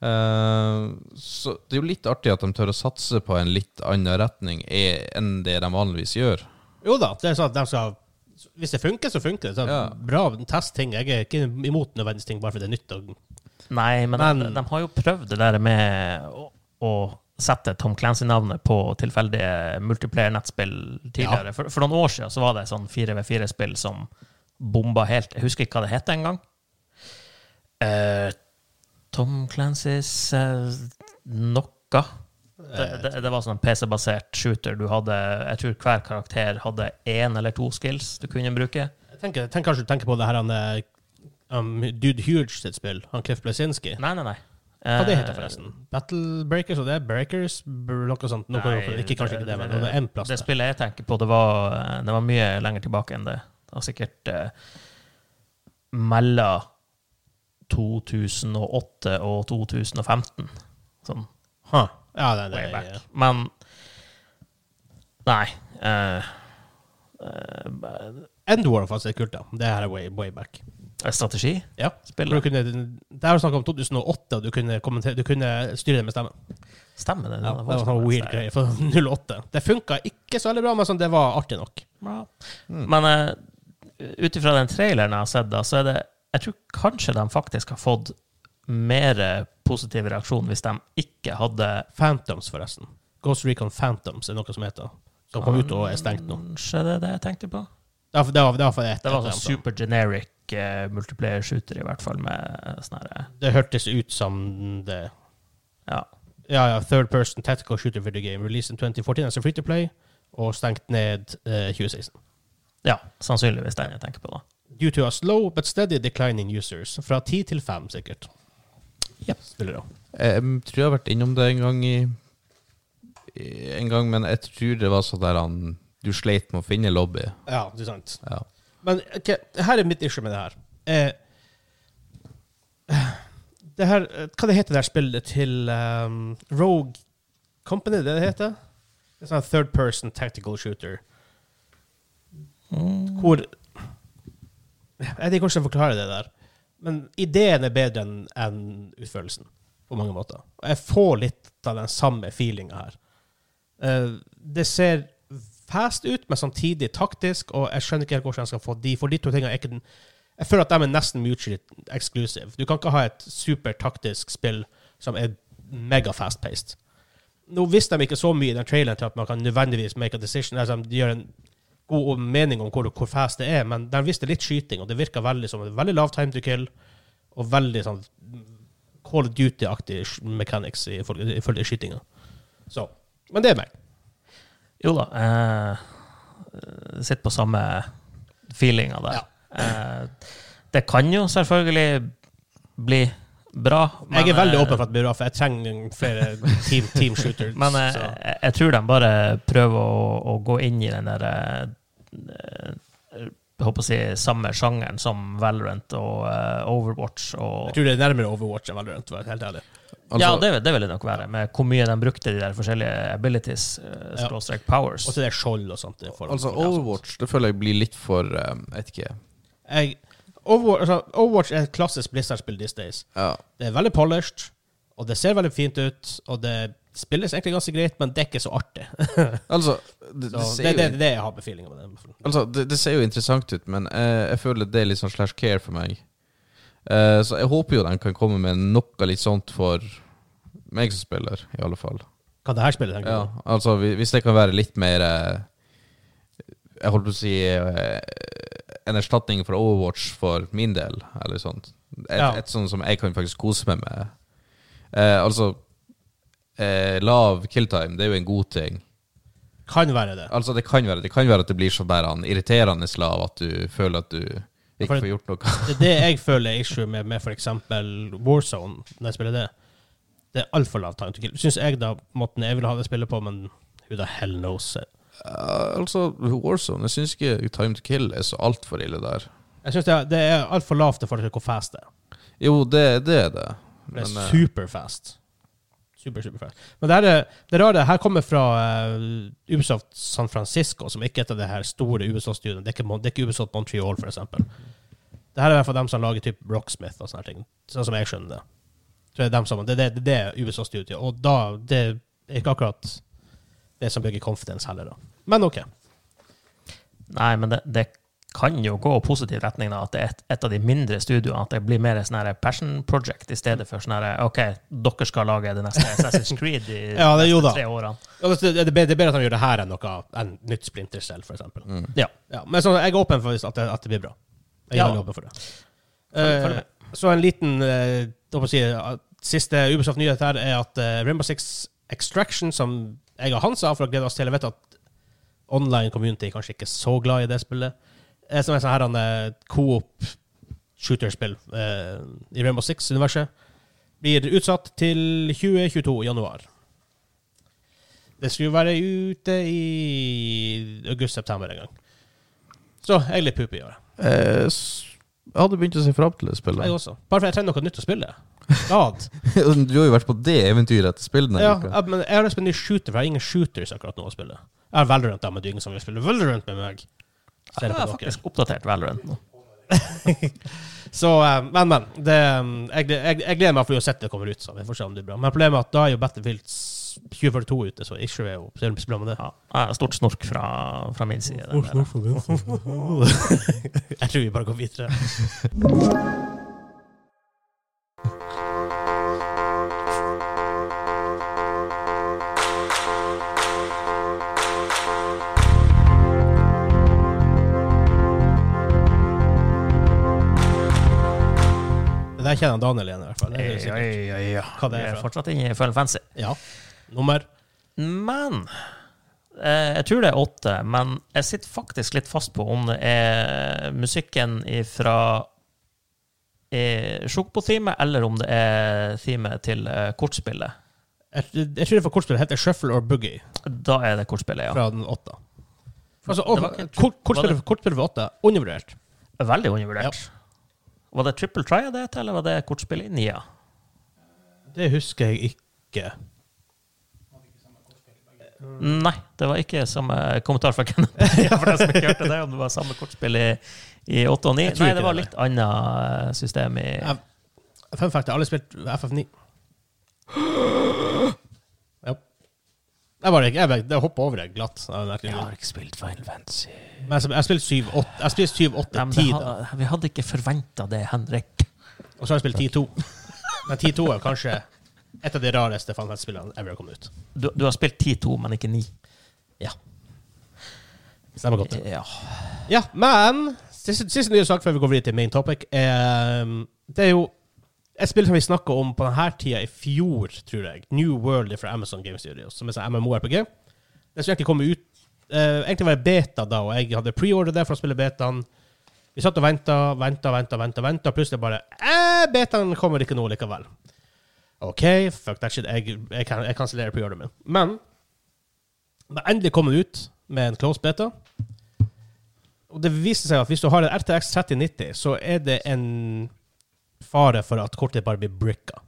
Speaker 3: Eh, så det er jo litt artig at de tør å satse på en litt annen retning eh, enn det de vanligvis gjør.
Speaker 1: Jo da, det er sånn at de skal Hvis det funker, så funker det. Så
Speaker 3: Ja.
Speaker 1: Bra, test ting. Jeg er ikke imot nødvendigvis ting bare fordi det er nytt. og
Speaker 4: Nei, men,
Speaker 1: Men-
Speaker 4: de, de har jo prøvd det der med å, å sette Tom Clancy-navnet på tilfeldige multiplayer-nettspill tidligere. For, for noen år siden så var det sånn 4v4-spill som bomba helt. Jeg husker ikke hva det het engang. Uh, Tom Clancys uh, Nokka.
Speaker 1: Eh.
Speaker 4: Det, det, det var sånn en PC-basert shooter. Du hadde, jeg tror hver karakter hadde én eller to skills du kunne bruke.
Speaker 1: Jeg tenker, tenk kanskje du tenker på det her han eh, um, Dude Huge sitt spill, han Cliff Blazinski.
Speaker 4: Nei, nei, nei.
Speaker 1: Hva det
Speaker 4: Eh,
Speaker 1: heter forresten? Battle Breakers og det? Breakers? Br- Noe sånt. Noe, ikke, kanskje ikke det, men det er en plass
Speaker 4: Det
Speaker 1: der.
Speaker 4: spillet jeg tenker på, det var, eh, det var mye lenger tilbake enn det. Det var sikkert eh, mellom 2008 og 2015. Sånn
Speaker 1: Huh. Ja, nei, det
Speaker 4: way
Speaker 1: er
Speaker 4: back. Men Nei. eh, eh,
Speaker 1: Endwar faktisk er kult, da. Det her er way, way back.
Speaker 4: strategi?
Speaker 1: Ja.
Speaker 4: Spillet.
Speaker 1: For Du kunne, det her er snakk om 2008, og du kunne, kommentere- du kunne styre det med stemmen.
Speaker 4: Stemmer det?
Speaker 1: Ja, det var
Speaker 4: voldsomt.
Speaker 1: sånn weird greie for 08. Det funka ikke så veldig bra, men sånn, det var artig nok.
Speaker 4: Bra.
Speaker 1: Mm.
Speaker 4: Men uh, ut ifra den traileren jeg har sett, da, så er det Jeg tror kanskje de faktisk har fått mer positiv reaksjon hvis de ikke hadde
Speaker 1: Phantoms, forresten. Ghost Recon Phantoms er noe som heter. Som
Speaker 4: Ah.
Speaker 1: kom ut og er stengt nå.
Speaker 4: Kanskje det er det jeg tenkte på.
Speaker 1: Det var, det var, det var, et-
Speaker 4: Det var
Speaker 1: et-
Speaker 4: sånn super generic eh, multiplayer shooter, i hvert fall, med sånn herre
Speaker 1: Det hørtes ut som det
Speaker 4: Ja.
Speaker 1: Ja, ja. Third person tactical shooter video game. Released in 2014 as a free to play. Og stengt ned eh, 2016.
Speaker 4: ja. Sannsynligvis den jeg tenker på, da.
Speaker 1: Due to a slow but steady declining users. Fra 10 til 5, sikkert.
Speaker 4: Yep.
Speaker 1: Spiller da.
Speaker 3: Jeg mm, tror jeg har vært innom det en gang i i- En gang, men jeg tror det var sånn der han Du sleit med å finne lobby.
Speaker 1: Ja, det er sant.
Speaker 3: Ja.
Speaker 1: Men ok, her er mitt issue med det her. Eh, det her eh, Hva det heter det her spillet til ehm, Rogue Company, det det heter? Det er sånn third person tactical shooter. Hvor Jeg vet ikke hvordan jeg forklarer det der. Men ideen er bedre enn enn utførelsen. på mange måter. Og jeg får litt av den samme feelinga her. Eh, det ser fast ut, men samtidig taktisk, og jeg skjønner ikke helt hvordan jeg skal få de, for de to tingene er ikke den Jeg føler at de er nesten mutually exclusive. Du kan ikke ha et supertaktisk spill som er mega fast-paced. Nå visste de ikke så mye i den traileren til at man kan nødvendigvis make a decision. Altså, de gjør en god mening om hvor, hvor fast det er, men de visste litt skyting, og det virka veldig som en veldig lav time to kill, og veldig sånn Call of Duty-aktig mechanics i- ifølge skytinga. Så. Men det er meg.
Speaker 4: Jo da. Eh, Sitter på samme feelinga der. Eh, det kan jo selvfølgelig bli bra.
Speaker 1: Jeg er veldig
Speaker 4: eh,
Speaker 1: åpen for at det blir bra, for jeg trenger flere team, team shooters.
Speaker 4: Men eh,
Speaker 1: så.
Speaker 4: jeg, jeg tror de bare prøver å, å gå inn i den der eh, jeg håper å si samme sjangeren som Valorant og eh, Overwatch og
Speaker 1: Jeg tror det er nærmere Overwatch enn Valorant, for å være helt ærlig.
Speaker 3: Altså,
Speaker 4: Ja, det, det ville nok være, med hvor mye de brukte de der forskjellige abilities, eh,
Speaker 1: Ja.
Speaker 4: skråstrek powers.
Speaker 1: Og så det er skjold og sånt. i forhold
Speaker 3: altså
Speaker 1: til-
Speaker 3: Overwatch det føler jeg blir litt for um, Jeg vet ikke.
Speaker 1: Jeg, Overwatch, altså, Overwatch er et klassisk Blizzard-spill these days.
Speaker 3: Ja.
Speaker 1: Det er veldig polished, og det ser veldig fint ut, og det spilles egentlig ganske greit, men det er ikke så artig.
Speaker 3: Altså, det, det,
Speaker 1: Så
Speaker 3: ser
Speaker 1: det er
Speaker 3: jo,
Speaker 1: det, det jeg har med feelinga med det.
Speaker 3: altså det, det ser jo interessant ut, men eh, jeg føler det er litt sånn slash care for meg. Eh, så jeg håper jo de kan komme med noe litt sånt for meg som spiller, i alle fall.
Speaker 1: Hva det her spillet tenker
Speaker 3: Ja,
Speaker 1: du?
Speaker 3: altså hvi- hvis det kan være litt mer eh, Jeg holdt på å si eh, en erstatning for Overwatch for min del, eller sånt. Et,
Speaker 1: Ja.
Speaker 3: et sånt som jeg kan faktisk kose meg med. Eh, altså eh, Lav killtime, det er jo en god ting.
Speaker 1: Kan være det.
Speaker 3: Altså Det kan være Det kan være at det blir så bare han irriterende lav at du føler at du ikke
Speaker 1: For-
Speaker 3: får gjort noe.
Speaker 1: Det er det jeg føler er issue med, med f.eks. Warzone, når jeg spiller det. Det er altfor lav time to kill. Syns jeg, da, måten jeg vil ha det spillet på, men who the hell knows?
Speaker 3: Eh, altså Warzone Jeg syns ikke Time to Kill er så altfor ille der.
Speaker 1: Jeg syns det, er- det er altfor lavt i forhold til hvor fast det er.
Speaker 3: Jo, det, det er det.
Speaker 1: Det er
Speaker 3: Men, eh,
Speaker 1: superfast. Super, superfast. Men det, her er, det rare her kommer fra eh, Ubisoft San Francisco, som ikke er et av de her store Ubisoft-studiene. Det, er ikke Mon- det er ikke Ubisoft Montreal, for eksempel. Det her er i hvert fall dem som lager typ Rocksmith og sånne her ting. Sånn som jeg skjønner det. Så det er dem som, det, det, det er Ubisoft-studiet. Og da Det er ikke akkurat det som bygger confidence heller, da. Men OK.
Speaker 4: Nei, men det, det kan jo gå i positiv retning, da, at det er et, et av de mindre studioene. At det blir mer sånn her passion project i stedet for sånn her OK, dere skal lage det neste Assassin's Creed i
Speaker 1: Ja, det- jo da.
Speaker 4: de tre årene.
Speaker 1: Ja, Det det er bedre det er bedre at de gjør det her enn noe enn nytt Splinter Cell, for eksempel.
Speaker 3: Mm.
Speaker 1: Ja. ja. Men sånn, jeg er åpen for at det, at det blir bra. Jeg er
Speaker 4: Ja.
Speaker 1: veldig åpen for det.
Speaker 4: Følg- følg med.
Speaker 1: Eh, så en liten eh, hva må jeg si, at siste Ubisoft-nyhet her er at eh, Rainbow Six Extraction, som jeg og Hans har for å glede oss til Jeg vet at online community er kanskje ikke så glad i det spillet. Eh, som er sånn her han, eh, coop shooterspill eh, i Rainbow Six-universet, blir utsatt til 2022 januar. Det skulle jo være ute i august-september en gang. Så jeg er litt pup i år.
Speaker 3: eh, s- jeg hadde begynt å se fram til det spillet.
Speaker 1: Jeg også. Bare fordi jeg trenger noe nytt å spille. God.
Speaker 3: Du har jo vært på det eventyret etter spillet. denne
Speaker 1: ja,
Speaker 3: uka.
Speaker 1: ja, men jeg har lyst på en ny shooter, for jeg har ingen shooters akkurat nå å spille. Jeg har Valorant da, men det er ingen som vil spille Valorant med meg. Ser
Speaker 4: Jeg
Speaker 1: det på
Speaker 4: har
Speaker 1: dere.
Speaker 4: Ah, faktisk oppdatert Valorant nå.
Speaker 1: Så, eh, men, men. Det, eh, jeg, jeg, jeg gleder meg for uansett det kommer ut, så vi får se om det blir bra. Men problemet er at da er jo Battlefield 2042 ute, så issue er jo så er det problemet med det.
Speaker 4: Ja, jeg har stort snork fra, fra min side. der.
Speaker 1: jeg tror vi bare går videre. Det der kjenner Daniel igjen, i hvert fall. Det er sikkert. Hva det er
Speaker 4: Jeg er
Speaker 1: fra.
Speaker 4: fortsatt inne i Final Fantasy.
Speaker 1: Dus, Ja. Nummer
Speaker 4: Men eh, Jeg tror det er åtte, men jeg sitter faktisk litt fast på om det er musikken fra Sjokpo-teamet, eller om det er teamet til eh, kortspillet.
Speaker 1: Jeg, jeg tror det for kortspillet heter Shuffle or Boogie.
Speaker 4: Da er det kortspillet, ja.
Speaker 1: fra den åtta. Altså,
Speaker 4: Det var ikke
Speaker 1: og,
Speaker 4: en tr-
Speaker 1: kort,
Speaker 4: var
Speaker 1: kortspillet
Speaker 4: det-
Speaker 1: kortspillet for åtta, undervurdert.
Speaker 4: Veldig undervurdert. Var det Triple Try det het, eller var det kortspillet i Nia?
Speaker 1: Det husker jeg ikke.
Speaker 4: Nei, det var ikke samme kommentar fra Kenneth. Ja, for deg som ikke hørte det, om det var samme kortspill i, i 8 og 9.
Speaker 1: Jeg tror
Speaker 4: Nei,
Speaker 1: ikke
Speaker 4: det var
Speaker 1: det,
Speaker 4: litt annet system i
Speaker 1: Fun fact, jeg har aldri spilt FF9. Ja. Jeg bare jeg, bare- jeg hoppa over det glatt. Jeg, merker det.
Speaker 3: ikke spilt Final Fantasy.
Speaker 1: Men jeg, jeg spilte 7, 8, jeg spilte 7, 8,
Speaker 4: Nei, men
Speaker 1: 10,
Speaker 4: det
Speaker 1: da.
Speaker 4: ha- vi hadde ikke forventa det, Henrik.
Speaker 1: Og så har jeg spilt 10, 2. Men 10, 2 er kanskje et av de rareste Final Fantasy-spillene ever har kommet ut.
Speaker 4: Du, du har spilt 10-2, men ikke 9.
Speaker 1: Ja. Stemmer godt.
Speaker 4: Ja.
Speaker 1: Ja, men siste, siste nye sak før vi går videre til main topic, er, um, det er jo et spill som vi snakka om på denne tida i fjor, tror jeg. New World fra Amazon Game Studios, som er sånn MMO-RPG. Det skulle egentlig komme ut eh, Egentlig var det beta da, og jeg hadde preordre det for å spille betaen. Vi satt og venta, venta, venta, venta, venta. plutselig bare eh, Betaen kommer ikke nå likevel. OK, fuck that shit. Jeg, jeg, kan- jeg kansellerer preordren min. Men det er endelig kommet ut med en close beta. Og det viser seg at hvis du har en RTX 3090, så er det en fare for at kortet bare blir bricka.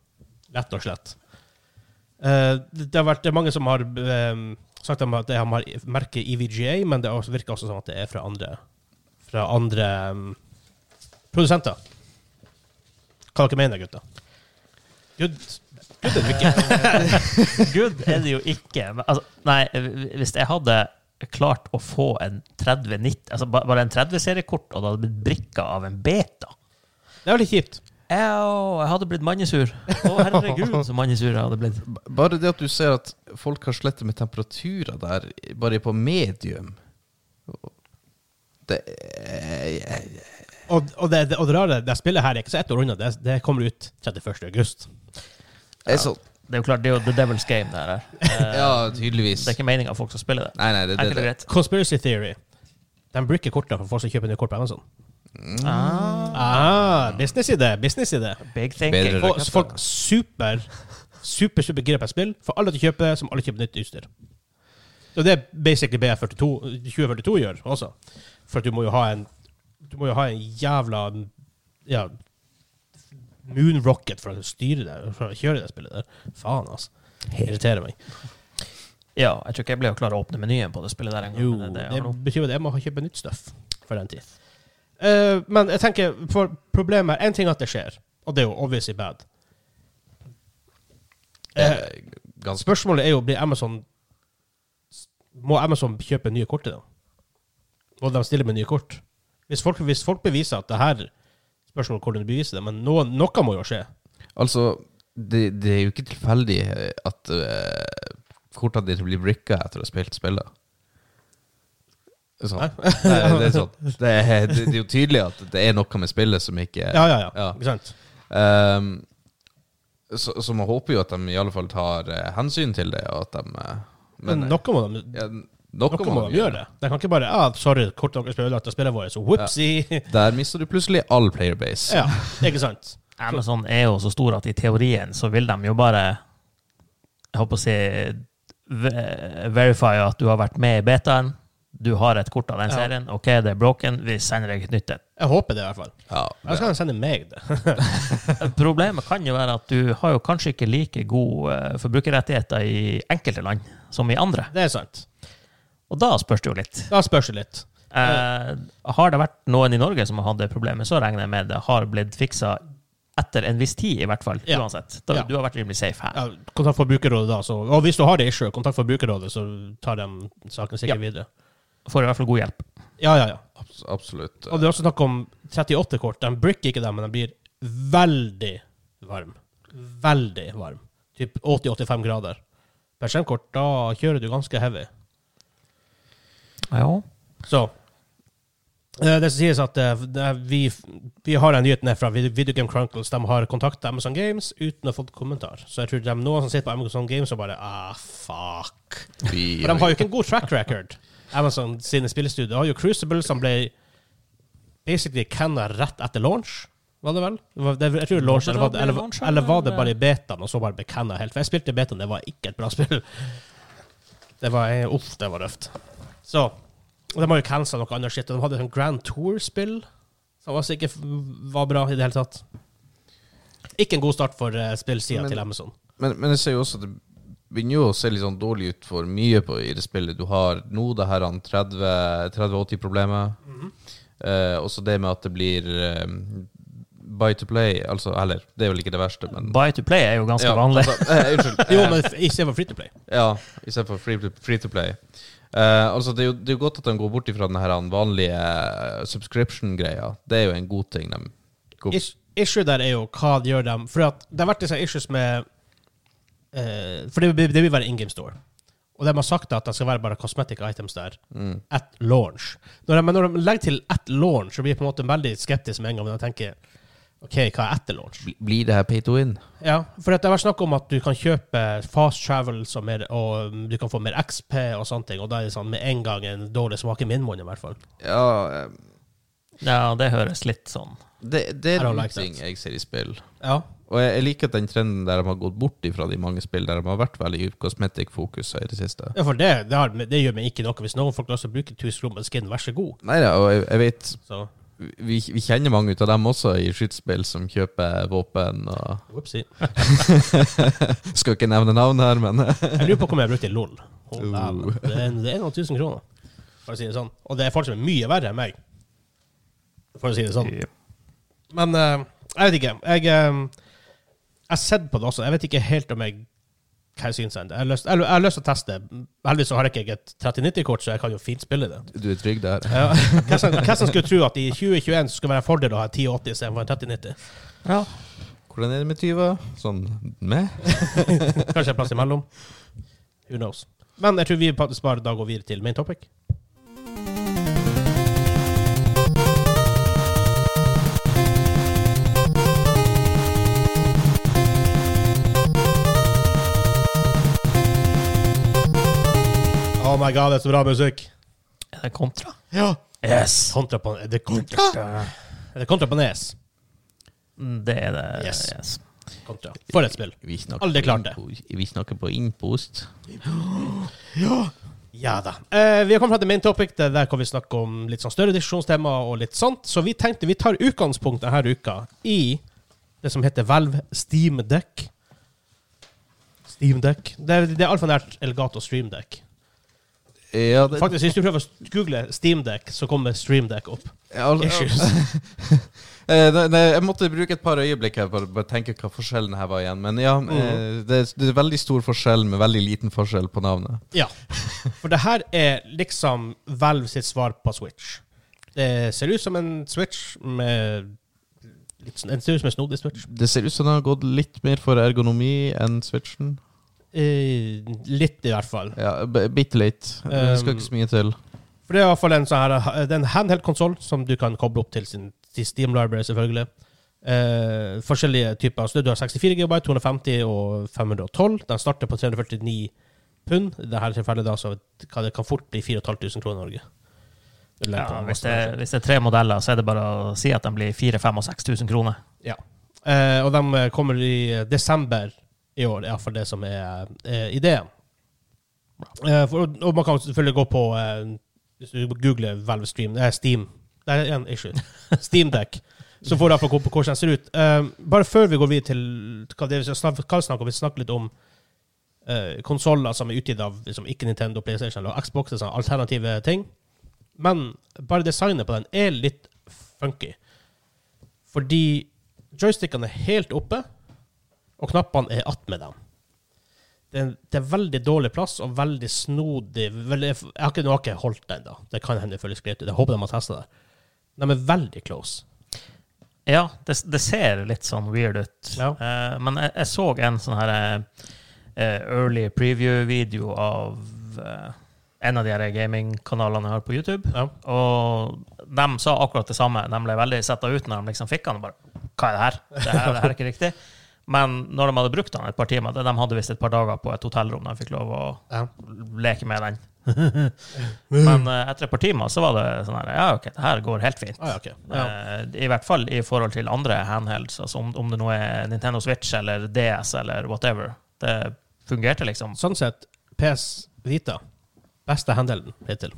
Speaker 1: Rett og slett. Eh, det, det har vært det er mange som har eh, sagt om at det har E merket EVGA, men det er også- virker også som at det er fra andre, fra andre eh, produsenter. Hva dere mener dere, gutter? Good. Good er det ikke.
Speaker 4: Good er det jo ikke. Men, altså, nei, hvis jeg hadde klart å få en 3090, altså ba- bare en 30-seriekort, og det hadde blitt brikka av en beta
Speaker 1: Det er veldig kjipt.
Speaker 4: Au, jeg hadde blitt mannesur. Å, herregud, så mannesur jeg hadde blitt.
Speaker 3: Bare det at du ser at folk har slettet med temperaturer der, bare på medium Det
Speaker 1: Og, og, det, og det rare, det spillet her er ikke så ett år unna. Det, det kommer ut 31. august.
Speaker 3: er sånn
Speaker 4: Det er jo klart, det er jo the devil's game, det her. Eh,
Speaker 3: Ja, tydeligvis.
Speaker 4: Det er ikke meninga folk skal spille det.
Speaker 3: Nei, nei, det,
Speaker 4: Er
Speaker 3: det,
Speaker 4: ikke det
Speaker 3: det.
Speaker 4: greit?
Speaker 1: Conspiracy Theory. De bruker kortene for folk som kjøper nye kort på Amazon.
Speaker 4: Ah,
Speaker 1: Ah, businessidé, businessidé.
Speaker 4: big thinking.
Speaker 3: Bedre.
Speaker 1: Og så folk super, super, super gira på et spill. For alle til å kjøpe det, som alle kjøper nytt utstyr. Og det er basically BF42 2042 gjør også. For at du må jo ha en Du må jo ha en jævla ja, moonrocket for å styre det, for å kjøre det spillet der. Faen, altså. Irriterer meg.
Speaker 4: Ja, jeg tror ikke jeg ble å klare å åpne menyen på det spillet der engang.
Speaker 1: Jo,
Speaker 4: men det-
Speaker 1: det betyr jo at jeg må ha kjøpe nytt støff for den tid. Eh, men jeg tenker, for problemet er en ting er at det skjer, og det er jo obviously bad. Eh,
Speaker 3: Ganske
Speaker 1: spørsmålet er jo blir Amazon Må Amazon kjøpe nye kort til dem? Må de stille med nye kort? Hvis folk, hvis folk beviser at det her Spørsmålet hvordan de beviser det, men noe, noe må jo skje.
Speaker 3: Altså, det, det er jo ikke tilfeldig eh, at eh, kortene dine blir bricka etter å ha spilt spillet. Sånn. Nei, det, er sånn. Det, er, det, det er jo tydelig at det er noe med spillet som ikke
Speaker 1: Ja, ja, ja.
Speaker 3: Ja.
Speaker 1: Ikke sant?
Speaker 3: Ehm, så, så man håper jo at de i alle fall tar eh, hensyn til det, og at de eh,
Speaker 1: Men,
Speaker 3: Men
Speaker 1: noe må de
Speaker 3: ja, noe,
Speaker 1: noe må de gjøre. De kan ikke bare ah, 'Sorry, kortet deres ble ødelagt av spillet vårt', så whoopsie.
Speaker 3: Der mister du plutselig all playerbase.
Speaker 1: Ja, ikke sant?
Speaker 4: Amazon er jo så stor at i teorien så vil de jo bare Jeg håper å si ve- verify at du har vært med i betaen. Du har et kort av den
Speaker 1: Ja.
Speaker 4: serien. OK, det er broken. Vi sender deg et nytt et.
Speaker 1: Jeg håper det, i hvert fall.
Speaker 3: Ja,
Speaker 1: Jeg skal sende meg det.
Speaker 4: Problemet kan jo være at du har jo kanskje ikke like gode eh, forbrukerrettigheter i enkelte land som i andre.
Speaker 1: Det er sant.
Speaker 4: Og da spørs det jo litt.
Speaker 1: Da spørs det litt.
Speaker 4: Eh, har det vært noen i Norge som har hatt det problemet, så regner jeg med det har blitt fiksa etter en viss tid, i hvert fall.
Speaker 1: Ja.
Speaker 4: Uansett. Da,
Speaker 1: Ja.
Speaker 4: Du har vært rimelig safe her.
Speaker 1: Ja, kontakt Forbrukerrådet, da. Så, og hvis du har det issue, kontakt Forbrukerrådet, så tar de saken sikkert videre.
Speaker 4: Får i hvert fall god hjelp.
Speaker 1: Ja, ja, ja.
Speaker 3: abs- absolutt.
Speaker 1: Og det er også snakk om 38 kort. De bricker ikke dem, men de blir veldig varm. Veldig varm. Typ 80-85 grader. Per skjermkort, da kjører du ganske heavy.
Speaker 4: Ja.
Speaker 1: Så eh, Det som sies at eh, det er vi, vi har en nyhet ned fra Vid- Video Game Chronicles. De har kontakta Amazon Games uten å ha fått kommentar. Så jeg tror det er noen som sitter på Amazon Games og bare ah, fuck.
Speaker 3: Vi-
Speaker 1: For de har jo ikke en god track record. Amazon sine spillestudio har jo Crucible, som ble basically canna rett etter launch. Var det vel? Det var- det- Jeg tror det launch, eh, eller, var det, eller, eller var det bare i betaen, og så bare ble canna helt? For jeg spilte i betaen, det var ikke et bra spill. Det var eh, Uff, det var røft. Så og De har jo cancela noe annet shit. og De hadde et sånt Grand Tour-spill som altså ikke f- var bra i det hele tatt. Ikke en god start for uh, spillsida
Speaker 3: Men-
Speaker 1: til Amazon.
Speaker 3: Men, men jeg ser jo også at det begynner jo å se litt sånn dårlig ut for mye på, i det spillet. Du har nå det her han
Speaker 1: Mhm.
Speaker 3: 30 30-80-problemet. Eh, også det med at det blir eh, buy to play, altså Eller, det er vel ikke det verste, men
Speaker 4: Buy to play er jo ganske
Speaker 3: Ja,
Speaker 4: vanlig.
Speaker 3: altså, eh, unnskyld.
Speaker 1: Jo,
Speaker 3: Eh,
Speaker 1: men f- i stedet for free to play.
Speaker 3: Ja, istedenfor free, to- free to play. Eh, altså det, er jo, det er jo godt at de går bort ifra den her vanlige eh, subscription-greia. Det er jo en god ting. De går,
Speaker 1: Is issue der er jo hva de gjør dem For at det har vært disse issues med eh, For det, vil- det vil være in game store. Og de har sagt at det skal være bare cosmetic items der. At launch. Når de, men når de legger til at launch, så blir jeg på en måte veldig skeptisk med en gang. Men jeg tenker OK, hva er etter launch?
Speaker 3: Bli- Blir det her pay to win?
Speaker 1: Ja, for at det har vært snakk om at du kan kjøpe fast travels og, mer, og um, du kan få mer XP og sånne ting, og da er det sånn med en gang en dårlig smak i min munn, i hvert fall.
Speaker 3: Ja, eh,
Speaker 4: Ja, det høres litt sånn
Speaker 3: det, det
Speaker 1: I
Speaker 3: er
Speaker 1: don't
Speaker 3: en
Speaker 1: like
Speaker 3: ting
Speaker 1: that.
Speaker 3: jeg ser i spill.
Speaker 1: Ja.
Speaker 3: Og jeg, jeg liker at den trenden der de har gått bort ifra de mange spill der de har vært veldig cosmetic-fokusa i det siste.
Speaker 1: ja for det, det, har, det gjør meg ikke noe hvis noen folk har lyst til å bruke 1000 kroner på en skin, vær så god.
Speaker 3: Nei da, og jeg, jeg vet
Speaker 1: Så,
Speaker 3: vi, vi kjenner mange ut av dem også i skytespill som kjøper våpen og
Speaker 1: whoopsie.
Speaker 3: Skal ikke nevne navn her, men
Speaker 1: Jeg lurer på hvor mye jeg brukte i LOL. Hold dæven. Det er, det er noen tusen kroner, for å si det sånn. Og det er folk som er mye verre enn meg, for å si det sånn. Men eh, jeg vet ikke. Jeg eh, jeg har sett på det også. Jeg vet ikke helt om jeg hva jeg syns. om det. Jeg har lyst- jeg har lyst til å teste. Heldigvis så har jeg ikke et 3090-kort, så jeg kan jo fint spille det.
Speaker 3: du er trygg der?
Speaker 1: Ja. Hvem som- hvem som skulle tro at i 2021 så skulle det være en fordel å ha 1080 istedenfor en 3090?
Speaker 4: Ja.
Speaker 3: Hvordan er det med 20? Sånn med?
Speaker 1: Kanskje en plass imellom. Who knows. Men jeg tror vi faktisk bare da går videre til main topic. Oh my god, det er så bra musikk!
Speaker 4: Er det kontra?
Speaker 1: Ja.
Speaker 4: Yes!
Speaker 1: Kontra på, er det kontra? Er det kontra på E nes?
Speaker 4: Det er det. Yes.
Speaker 1: Yes. Kontra. For et spill.
Speaker 3: Vi snakker
Speaker 1: Aldri
Speaker 3: på
Speaker 1: klart det.
Speaker 3: innpo- Vi snakker på innpost.
Speaker 1: Ja da. Eh, vi har kommet frem til main topic. Det er der kan vi snakke om litt sånn større diskusjonstema og litt sånt. Så vi tenkte vi tar utgangspunkt denne uka i det som heter Valve Steam Deck. Steam Deck. Det, er- det er altfor nært Elgato Stream Deck.
Speaker 3: Ja, det,
Speaker 1: Faktisk, hvis du prøver å google Steam Deck, så kommer Stream Deck opp.
Speaker 3: Ja, al-
Speaker 1: Issues.
Speaker 3: Eh, nei, nei, jeg måtte bruke et par øyeblikk her for å bare tenke hva forskjellen her var igjen. Men ja,
Speaker 1: Mm.
Speaker 3: eh, det, er- det er veldig stor forskjell med veldig liten forskjell på navnet.
Speaker 1: Ja. For det her er liksom Valve sitt svar på Switch. Det ser ut som en Switch med litt, sånn- Det ser ut som en snodig Switch.
Speaker 3: Det ser ut som det har gått litt mer for ergonomi enn switchen.
Speaker 1: Eh, litt, i hvert fall.
Speaker 3: Ja, b- Bitte litt.
Speaker 1: Ehm.
Speaker 3: Det skal ikke så mye til.
Speaker 1: For det er i hvert fall en sånn her Det er en handheld-konsoll som du kan koble opp til sin til Steam Library, selvfølgelig. Eh, forskjellige typer. Så du har 64 GB, 250 og 512. Den starter på 349 pund. I dette tilfellet da, så kan det kan fort bli 4500 kroner i Norge. Det lurer jeg på
Speaker 4: Ja,
Speaker 1: om
Speaker 4: hvis,
Speaker 1: det
Speaker 4: det,
Speaker 1: er-
Speaker 4: hvis det er tre modeller, så er det bare å si at de blir 4000-5000 og 6000 kroner.
Speaker 1: Ja. Eh, og de kommer i desember i år, iallfall det som er eh, ideen. Eh, for, og man kan selvfølgelig gå på eh, Hvis du googler Valve Stream eh, Steam Det er en issue. Steam Deck. Så får du iallfall gå på hvordan den ser ut. Eh, bare før vi går videre til hva det er vi skal snak- hva vi snakker om, vi snakker litt om eh, konsoller som er utgitt av liksom, ikke Nintendo, PlayStation eller Xbox, sånn, alternative ting. Men bare designet på den er litt funky. Fordi joystickene er helt oppe, og knappene er attmed dem. Det er, det er veldig dårlig plass og veldig snodig veldig, Jeg har ikke, nå har jeg ikke holdt den, da. Det kan hende det føles greit ut. Jeg håper de har testa det. De er veldig close.
Speaker 4: Ja, det, det ser litt sånn weird ut.
Speaker 1: Ja.
Speaker 4: Eh, men jeg, jeg så en sånn her eh, early preview-video av eh, en av de her gamingkanalene jeg har på YouTube.
Speaker 1: Ja.
Speaker 4: Og de sa akkurat det samme. De ble veldig setta ut når de liksom fikk han. og Bare, Hva er det her? Det her, det her er ikke riktig. Men når de hadde brukt han et par timer De hadde visst et par dager på et hotellrom de fikk lov å
Speaker 1: Ja.
Speaker 4: leke med den. Men eh, etter et par timer så var det sånn her Ja, OK, det her går helt fint.
Speaker 1: Ah, ja, ok. ja.
Speaker 4: Eh, I hvert fall i forhold til andre handhelds, altså om, om det nå er Nintendo Switch eller DS eller whatever. Det fungerte liksom.
Speaker 1: Sånn sett, PS Vita. Beste handelen hittil.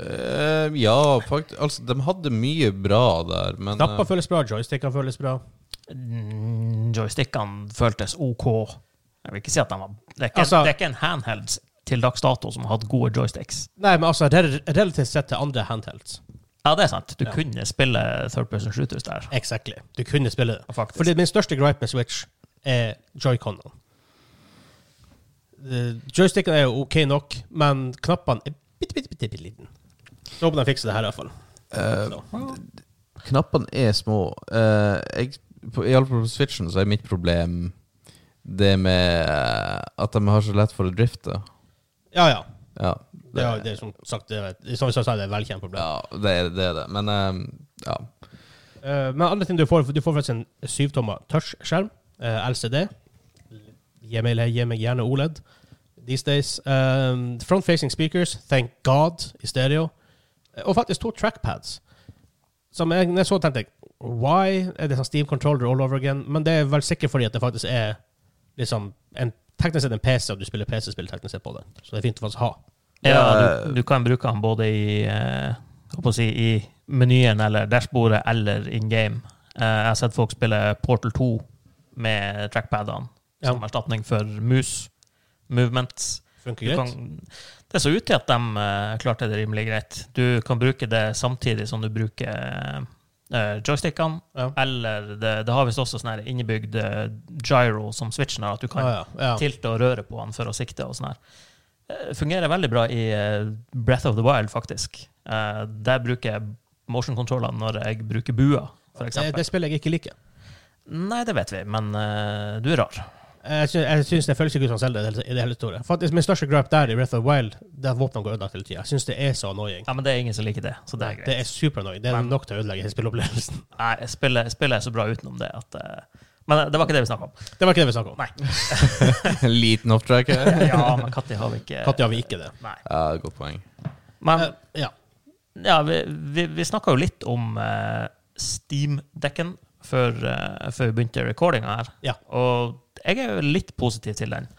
Speaker 3: Eh, ja, faktisk. Altså, de hadde mye bra der, men eh,
Speaker 1: Knapper føles bra, joysticker føles bra.
Speaker 4: Mm, Joystickene føltes OK. Jeg vil ikke si at de var Det er ikke,
Speaker 1: Altså-
Speaker 4: det er ikke en handheld til dags dato som har hatt gode joysticks.
Speaker 1: Nei, men altså, rel- relativt sett til andre handhelds.
Speaker 4: Ja, det er sant. Du kunne spille third person shooters der.
Speaker 1: Exactly. Du kunne spille det.
Speaker 4: Faktisk.
Speaker 1: Eh, Fordi min største gripe med Switch er joyconene. Eh, Joysticken er jo OK nok, men knappene er bitte, bitte, bitte, bitte liten. Så håper de fikser det her, i hvert fall. Så.
Speaker 3: Knappene er små. Uh, jeg, på, I alle fall på Switchen så er mitt problem det med eh, at de har så lett for å drifte.
Speaker 1: Ja, ja.
Speaker 3: Ja,
Speaker 1: Det er, det er som sagt det er, som vi sa, det er et velkjent problem.
Speaker 3: ja det, er, det er det. Men eh, ja.
Speaker 1: Eh, men andre ting du får, du får faktisk en syvtommer touchskjerm, eh, LCD. Gi meg, gi meg gjerne OLED these days. Um, Front-facing speakers, thank God, i stereo. Eh, Og faktisk to trackpads. Som jeg, når jeg så tenkte jeg, why er det sånn Steam controller all over again? Men det er vel sikkert fordi at det faktisk er liksom en, teknisk sett en PC, og du spiller PC-spill teknisk sett på det. Så det er fint å faktisk ha.
Speaker 4: Ja,
Speaker 1: eh,
Speaker 4: du, du kan bruke den både i eh, hva på å si, i menyen eller dashbordet eller in game. Eh, jeg har sett folk spille Portal 2 med trackpadene
Speaker 1: Ja.
Speaker 4: som erstatning for mus. Movements.
Speaker 1: Funker
Speaker 4: Du
Speaker 1: greit.
Speaker 4: kan, det så ut til at de eh, klarte det rimelig greit. Du kan bruke det samtidig som du bruker eh, joystickene.
Speaker 1: Ja.
Speaker 4: Eller det, det har visst også sånn her innebygd eh, gyro som switchen har, at du kan
Speaker 1: Ah, ja, ja.
Speaker 4: tilte og røre på han for å sikte og sånn her. Eh, Fungerer veldig bra i eh, Breath of the Wild, faktisk. Eh, Der bruker jeg motion-kontrollene når jeg bruker bua, for
Speaker 1: Det,
Speaker 4: eksempel.
Speaker 1: det spillet jeg ikke liker.
Speaker 4: Nei, det vet vi, men eh, du er rar.
Speaker 1: Jeg syns, jeg syns det føles ikke ut som Zelda i det hele- i det hele store. Faktisk, Min største gripe der i Breath of the Wild, det er at våpnene går ødelagt hele tida. Jeg syns det er så annoying.
Speaker 4: Ja, men det er ingen som liker det, så det er greit.
Speaker 1: Det er superannoying. Det er
Speaker 4: Men-
Speaker 1: nok til å ødelegge hele spilleopplevelsen.
Speaker 4: Nei, jeg spiller, spiller jeg så bra utenom det at eh, Men det var ikke det vi snakka om.
Speaker 1: Det var ikke det vi snakket om.
Speaker 4: Nei.
Speaker 3: Liten off-track her.
Speaker 4: Ja, men Katti har vi ikke
Speaker 1: Katja har vi ikke det.
Speaker 4: Nei.
Speaker 3: Ja, godt poeng.
Speaker 4: Men
Speaker 1: Eh, ja.
Speaker 4: Ja, vi, vi, vi snakka jo litt om eh, Steam-dekken før, eh, før vi begynte recordinga her.
Speaker 1: Ja.
Speaker 4: Og jeg er jo litt positiv til den.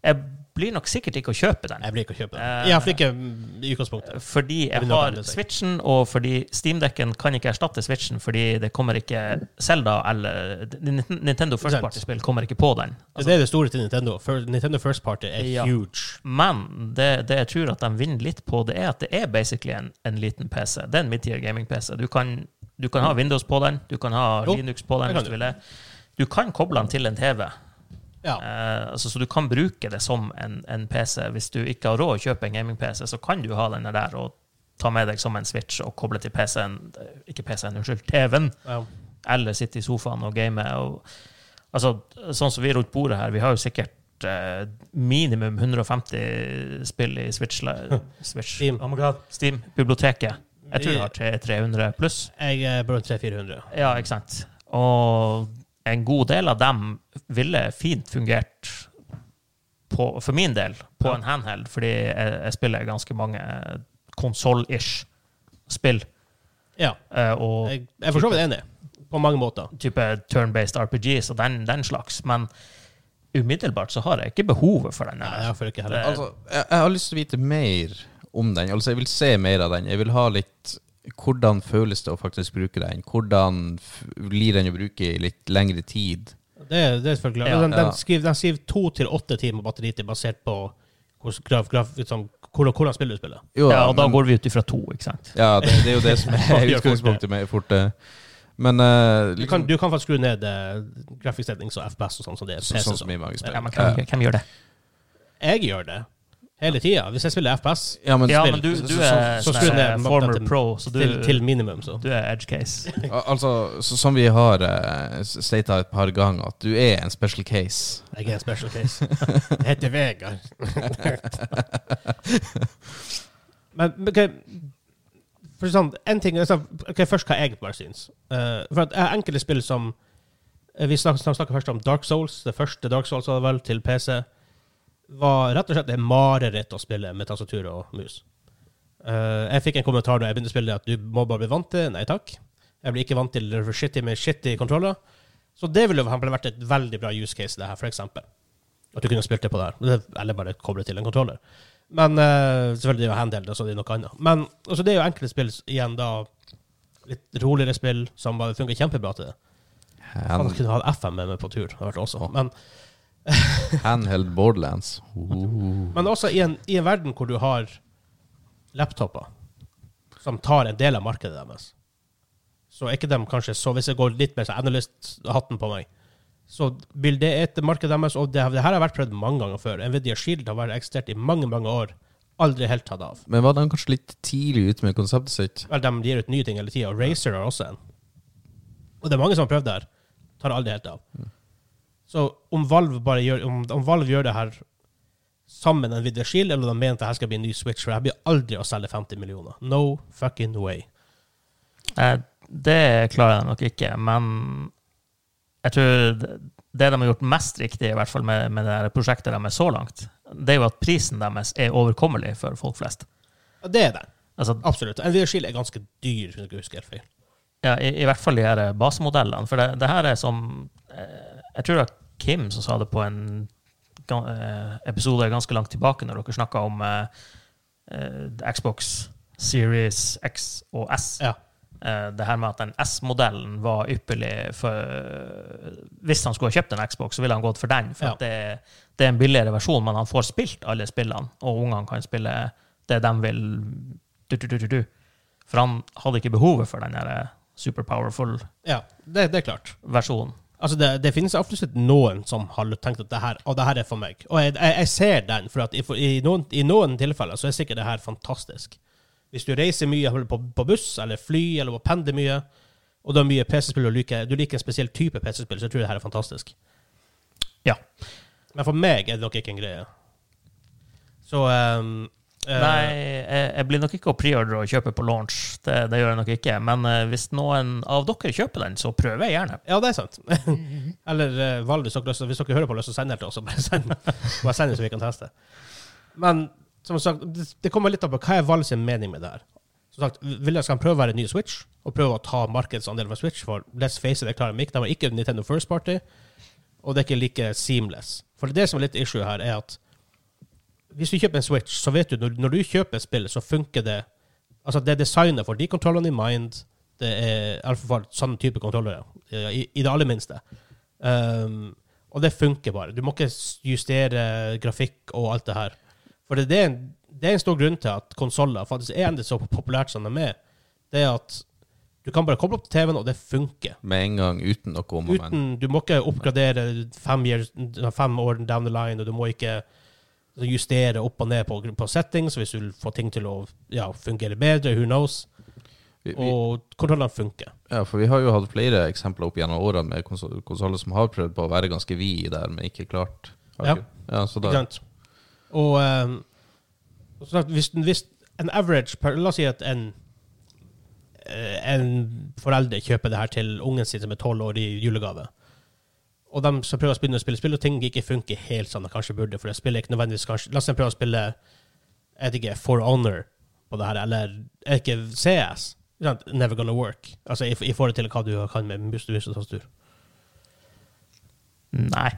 Speaker 4: Jeg blir nok sikkert ikke å kjøpe den.
Speaker 1: Jeg blir ikke å kjøpe
Speaker 4: Eh,
Speaker 1: det. Iallfall ikke mm, i utgangspunktet.
Speaker 4: Fordi
Speaker 1: Det
Speaker 4: jeg
Speaker 1: vil nok
Speaker 4: har
Speaker 1: andre si.
Speaker 4: Switchen, og fordi Steam-dekken kan ikke erstatte Switchen, fordi det kommer ikke Zelda eller Nintendo First
Speaker 1: Sant.
Speaker 4: Party-spill kommer ikke på den.
Speaker 1: det er det store til Nintendo. For Nintendo First Party er
Speaker 4: eh, Ja.
Speaker 1: huge.
Speaker 4: Men det, det jeg tror at de vinner litt på, det er at det er basically en, en liten PC. Det er en midtier gaming-PC. Du, kan- du kan ha Windows på den, du kan ha
Speaker 1: Jo,
Speaker 4: Linux på
Speaker 1: det
Speaker 4: den
Speaker 1: kan
Speaker 4: hvis du vil det. Du kan koble den til en TV,
Speaker 1: Ja.
Speaker 4: eh, altså, så du kan bruke det som en, en PC. Hvis du ikke har råd å kjøpe en gaming-PC, så kan du ha den der og ta med deg som en switch og koble til PC-en, ikke PC-en, unnskyld, TV-en
Speaker 1: ja.
Speaker 4: eller sitte i sofaen og game. Og, altså, sånn som vi rundt bordet her, vi har jo sikkert eh, minimum 150 spill i Switch, Switch
Speaker 1: Steam.
Speaker 4: Oh my God. Steam biblioteket. Jeg tror vi har tre- 300 pluss.
Speaker 1: Jeg er på rundt 300-400.
Speaker 4: Ja, ikke sant. Og en god del av dem ville fint fungert på, for min del på
Speaker 1: Ja.
Speaker 4: en handheld, fordi jeg, jeg spiller ganske mange konsoll-ish spill.
Speaker 1: Ja.
Speaker 4: eh, og
Speaker 1: Jeg jeg er for så vidt enig. På mange måter.
Speaker 4: type turn-based RPGs og den, den slags, men umiddelbart så har jeg ikke behovet for den.
Speaker 1: Nei,
Speaker 4: her.
Speaker 1: jeg får ikke heller.
Speaker 4: Det-
Speaker 3: Altså, jeg, jeg har lyst til å vite mer om den. Altså, jeg vil se mer av den. Jeg vil ha litt Hvordan føles det å faktisk bruke den? Hvordan f blir den å bruke i litt lengre tid?
Speaker 1: Det, det er selvfølgelig.
Speaker 4: Ja.
Speaker 1: den, den,
Speaker 3: Ja.
Speaker 1: skriver, den skriver to til åtte timer batteritid basert på hvordan, graf, graf, liksom, hvordan, hvordan spiller du spillet.
Speaker 3: Jo,
Speaker 4: ja, og da
Speaker 3: men-
Speaker 4: går vi ut ifra to, ikke sant?
Speaker 3: Ja, det, det er jo det som er
Speaker 1: Gjør fort
Speaker 3: utgangspunktet med fort eh, Men eh,
Speaker 1: Du
Speaker 3: liksom,
Speaker 1: kan, du kan faktisk skru ned uh, grafikksettings og FPS og sånn som det er.
Speaker 3: så,
Speaker 1: PC,
Speaker 3: sånn som
Speaker 1: sånn.
Speaker 3: i mange spill.
Speaker 4: Ja, men hvem,
Speaker 3: Eh,
Speaker 4: hvem gjør det?
Speaker 1: Jeg gjør det hele tida. Hvis jeg spiller FPS
Speaker 3: ja, men,
Speaker 4: Ja,
Speaker 1: spill.
Speaker 4: men du, du
Speaker 1: Så-
Speaker 4: er
Speaker 1: så- så
Speaker 4: sånn
Speaker 1: skulle
Speaker 4: her
Speaker 1: jeg-
Speaker 4: former
Speaker 1: til-
Speaker 4: pro, så du,
Speaker 1: til, til minimum, så.
Speaker 4: du er edge case.
Speaker 3: al- altså, så, som vi har uh, stata et par ganger, at du er en special case.
Speaker 1: Jeg er en special case. Jeg heter Vegard. men men, ok for sånn, en ting, altså, ok, Først hva jeg bare syns. Eh, for at jeg har enkelte spill som eh, Vi snakker, snakker først om Dark Souls. Det første Dark Souls var det vel til PC. Var rett og slett et mareritt å spille med tastatur og mus. Eh, jeg fikk en kommentar da jeg begynte å spille at du må bare bli vant til Nei takk. Jeg blir ikke vant til shitty med shitty kontroller. Så det ville jo for eksempel vært et veldig bra use case, det her, for eksempel. At du kunne spilt det på der. Det- Eller bare koble til en kontroller. Men eh, selvfølgelig det er jo handheld, så det er noe annet. Men altså, det er jo enkelte spill igjen, da. Litt roligere spill som bare funker kjempebra til det. Faen,
Speaker 3: Hand,
Speaker 1: jeg kunne hatt FM med meg på tur. Det hadde vært også. Men,
Speaker 3: handheld borderlands. Oh.
Speaker 1: men også i en, i en verden hvor du har laptoper, som tar en del av markedet deres. Så er ikke de kanskje Så hvis jeg går litt mer så analyst-hatten på meg, så vil det et marked deres Og det, det her har vært prøvd mange ganger før. Nvidia Shield har vært eksistert i mange, mange år. Aldri helt tatt av.
Speaker 3: Men var de kanskje litt tidlig ute med konseptet sitt?
Speaker 1: Vel, de gir ut nye ting hele tida, og Razer har også en. Og det er mange som har prøvd det her. Tar aldri helt av. Så om Valve, bare gjør, om, om Valve gjør det her sammen med Nvidia Shield, eller om de mener at det her skal bli en ny Switch, for jeg blir aldri å selge 50 millioner. No fucking way.
Speaker 4: Eh, Det klarer jeg nok ikke, men jeg tror det det de har gjort mest riktig, i hvert fall med, med det her prosjektet deres så langt, det er jo at prisen deres er overkommelig for folk flest.
Speaker 1: Og det er det.
Speaker 4: Altså,
Speaker 1: Absolutt. Nvidia Shield er ganske dyr, hvis jeg ikke husker helt feil.
Speaker 4: ja, i, I hvert fall de her eh, basemodellene. For det, det her er som eh, Jeg tror det var Kim som sa det på en gan- eh, episode ganske langt tilbake, når dere snakka om eh, eh, Xbox Series X og S.
Speaker 1: Ja.
Speaker 4: Eh, det her med at den S-modellen var ypperlig for Hvis han skulle ha kjøpt en Xbox, så ville han gått for den. For
Speaker 1: Ja.
Speaker 4: at det, det er en billigere versjon, men han får spilt alle spillene, og ungene kan spille det de vil. Du, du, du, du, du. For han hadde ikke behovet for den der super powerful
Speaker 1: Ja, det, det er klart.
Speaker 4: versjonen.
Speaker 1: Altså, det, det finnes absolutt noen som har tenkt at det her, og det her er for meg. Og jeg, jeg, jeg ser den, for at i, for- i, noen, i noen tilfeller så er sikkert det her fantastisk. Hvis du reiser mye eller på, på buss eller fly eller på pendler mye, og du har mye PC-spill og liker, du liker en spesiell type PC-spill, så jeg tror jeg det her er fantastisk.
Speaker 4: Ja.
Speaker 1: Men for meg er det nok ikke en greie. Så ehm, eh,
Speaker 4: Nei, jeg, jeg blir nok ikke å preordre og kjøpe på launch. Det, det gjør jeg nok ikke. Men eh, hvis noen av dere kjøper den, så prøver jeg gjerne.
Speaker 1: Ja, det er sant. Eller uh, Val, hvis dere, har lyst til- hvis dere hører på, har lyst til å sende den til oss, så bare send, bare send den så vi kan teste. Men som sagt, det, det kommer litt an på hva er Val sin mening med det her. Som sagt, vil jeg skal han prøve å være en ny Switch, og prøve å ta markedsandelen fra Switch, for let's face it, det klarer de ikke. De har ikke Nintendo First Party, og det er ikke like seamless. For det som er litt issue her, er at hvis du kjøper en Switch, så vet du når, når du kjøper et spill, så funker det Altså, det er designet for de kontrollene i Mind. Det er i alle fall sånn type kontroller, ja, i, i det aller minste. Um, og det funker bare. Du må ikke justere grafikk og alt det her. For det, det, er, en, det er en stor grunn til at konsoller faktisk er endelig så populært som de er. Det er at du kan bare koble opp til TV-en, og det funker.
Speaker 3: Med en gang uten noe om og men.
Speaker 1: Uten, du må ikke oppgradere fem, years, fem år down the line, og du må ikke justere opp og ned på, på settings hvis du får ting til å ja, fungere bedre, who knows.
Speaker 3: Vi, vi,
Speaker 1: Og kontrollene funker.
Speaker 3: ja, for vi har jo hatt flere eksempler opp gjennom årene med konsol- konsoller som har prøvd på å være ganske vid der, men ikke klart. Har
Speaker 1: Ja.
Speaker 3: ikke- ja så
Speaker 1: Ikke
Speaker 3: da,
Speaker 1: sant? Og um, og som sagt, hvis, hvis en average per, La oss si at en eh, en forelder kjøper det her til ungen sin som er tolv år, i julegave. Og de som prøver å spille, spille spill, og ting ikke funker helt som de kanskje burde. For det spillet er ikke nødvendigvis kanskje, La oss si de prøver å spille jeg vet ikke, For Honor på det her, eller jeg vet ikke CS. Ikke sant? Never gonna work. Altså i, i forhold til hva du kan med mus mus og tastatur.
Speaker 4: Nei.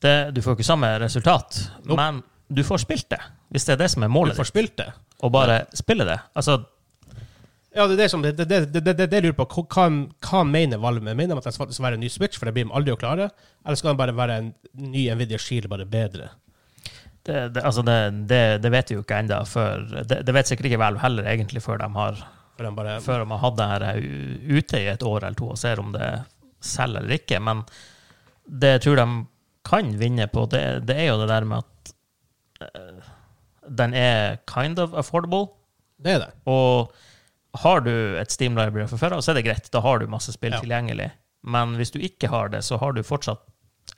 Speaker 4: Det, du får ikke samme resultat,
Speaker 1: Nope.
Speaker 4: men du får spilt det. Hvis det er det som er
Speaker 1: Du
Speaker 4: målet
Speaker 1: får
Speaker 4: ditt,
Speaker 1: spilt det.
Speaker 4: og bare spille det. Altså,
Speaker 1: Ja, det er det som det, det, det, det, det, det jeg lurer på. Hva, hva mener Valve? Mener de at det faktisk skal være en ny Switch, for det blir de aldri å klare? Eller skal den bare være en ny Nvidia Shield, bare bedre?
Speaker 4: det, det, altså det, det, det vet vi jo ikke ennå. Det, det vet sikkert ikke Valve heller, egentlig, før de har,
Speaker 1: For den bare
Speaker 4: før de har hatt det her eh, u- ute i et år eller to og ser om det selger eller ikke. Men det jeg tror de kan vinne på, det, det er jo det der med at eh, den er kind of affordable.
Speaker 1: Det er det.
Speaker 4: Og har du et Steam Library fra før av, så er det greit. Da har du masse spill
Speaker 1: Ja.
Speaker 4: tilgjengelig. Men hvis du ikke har det, så har du fortsatt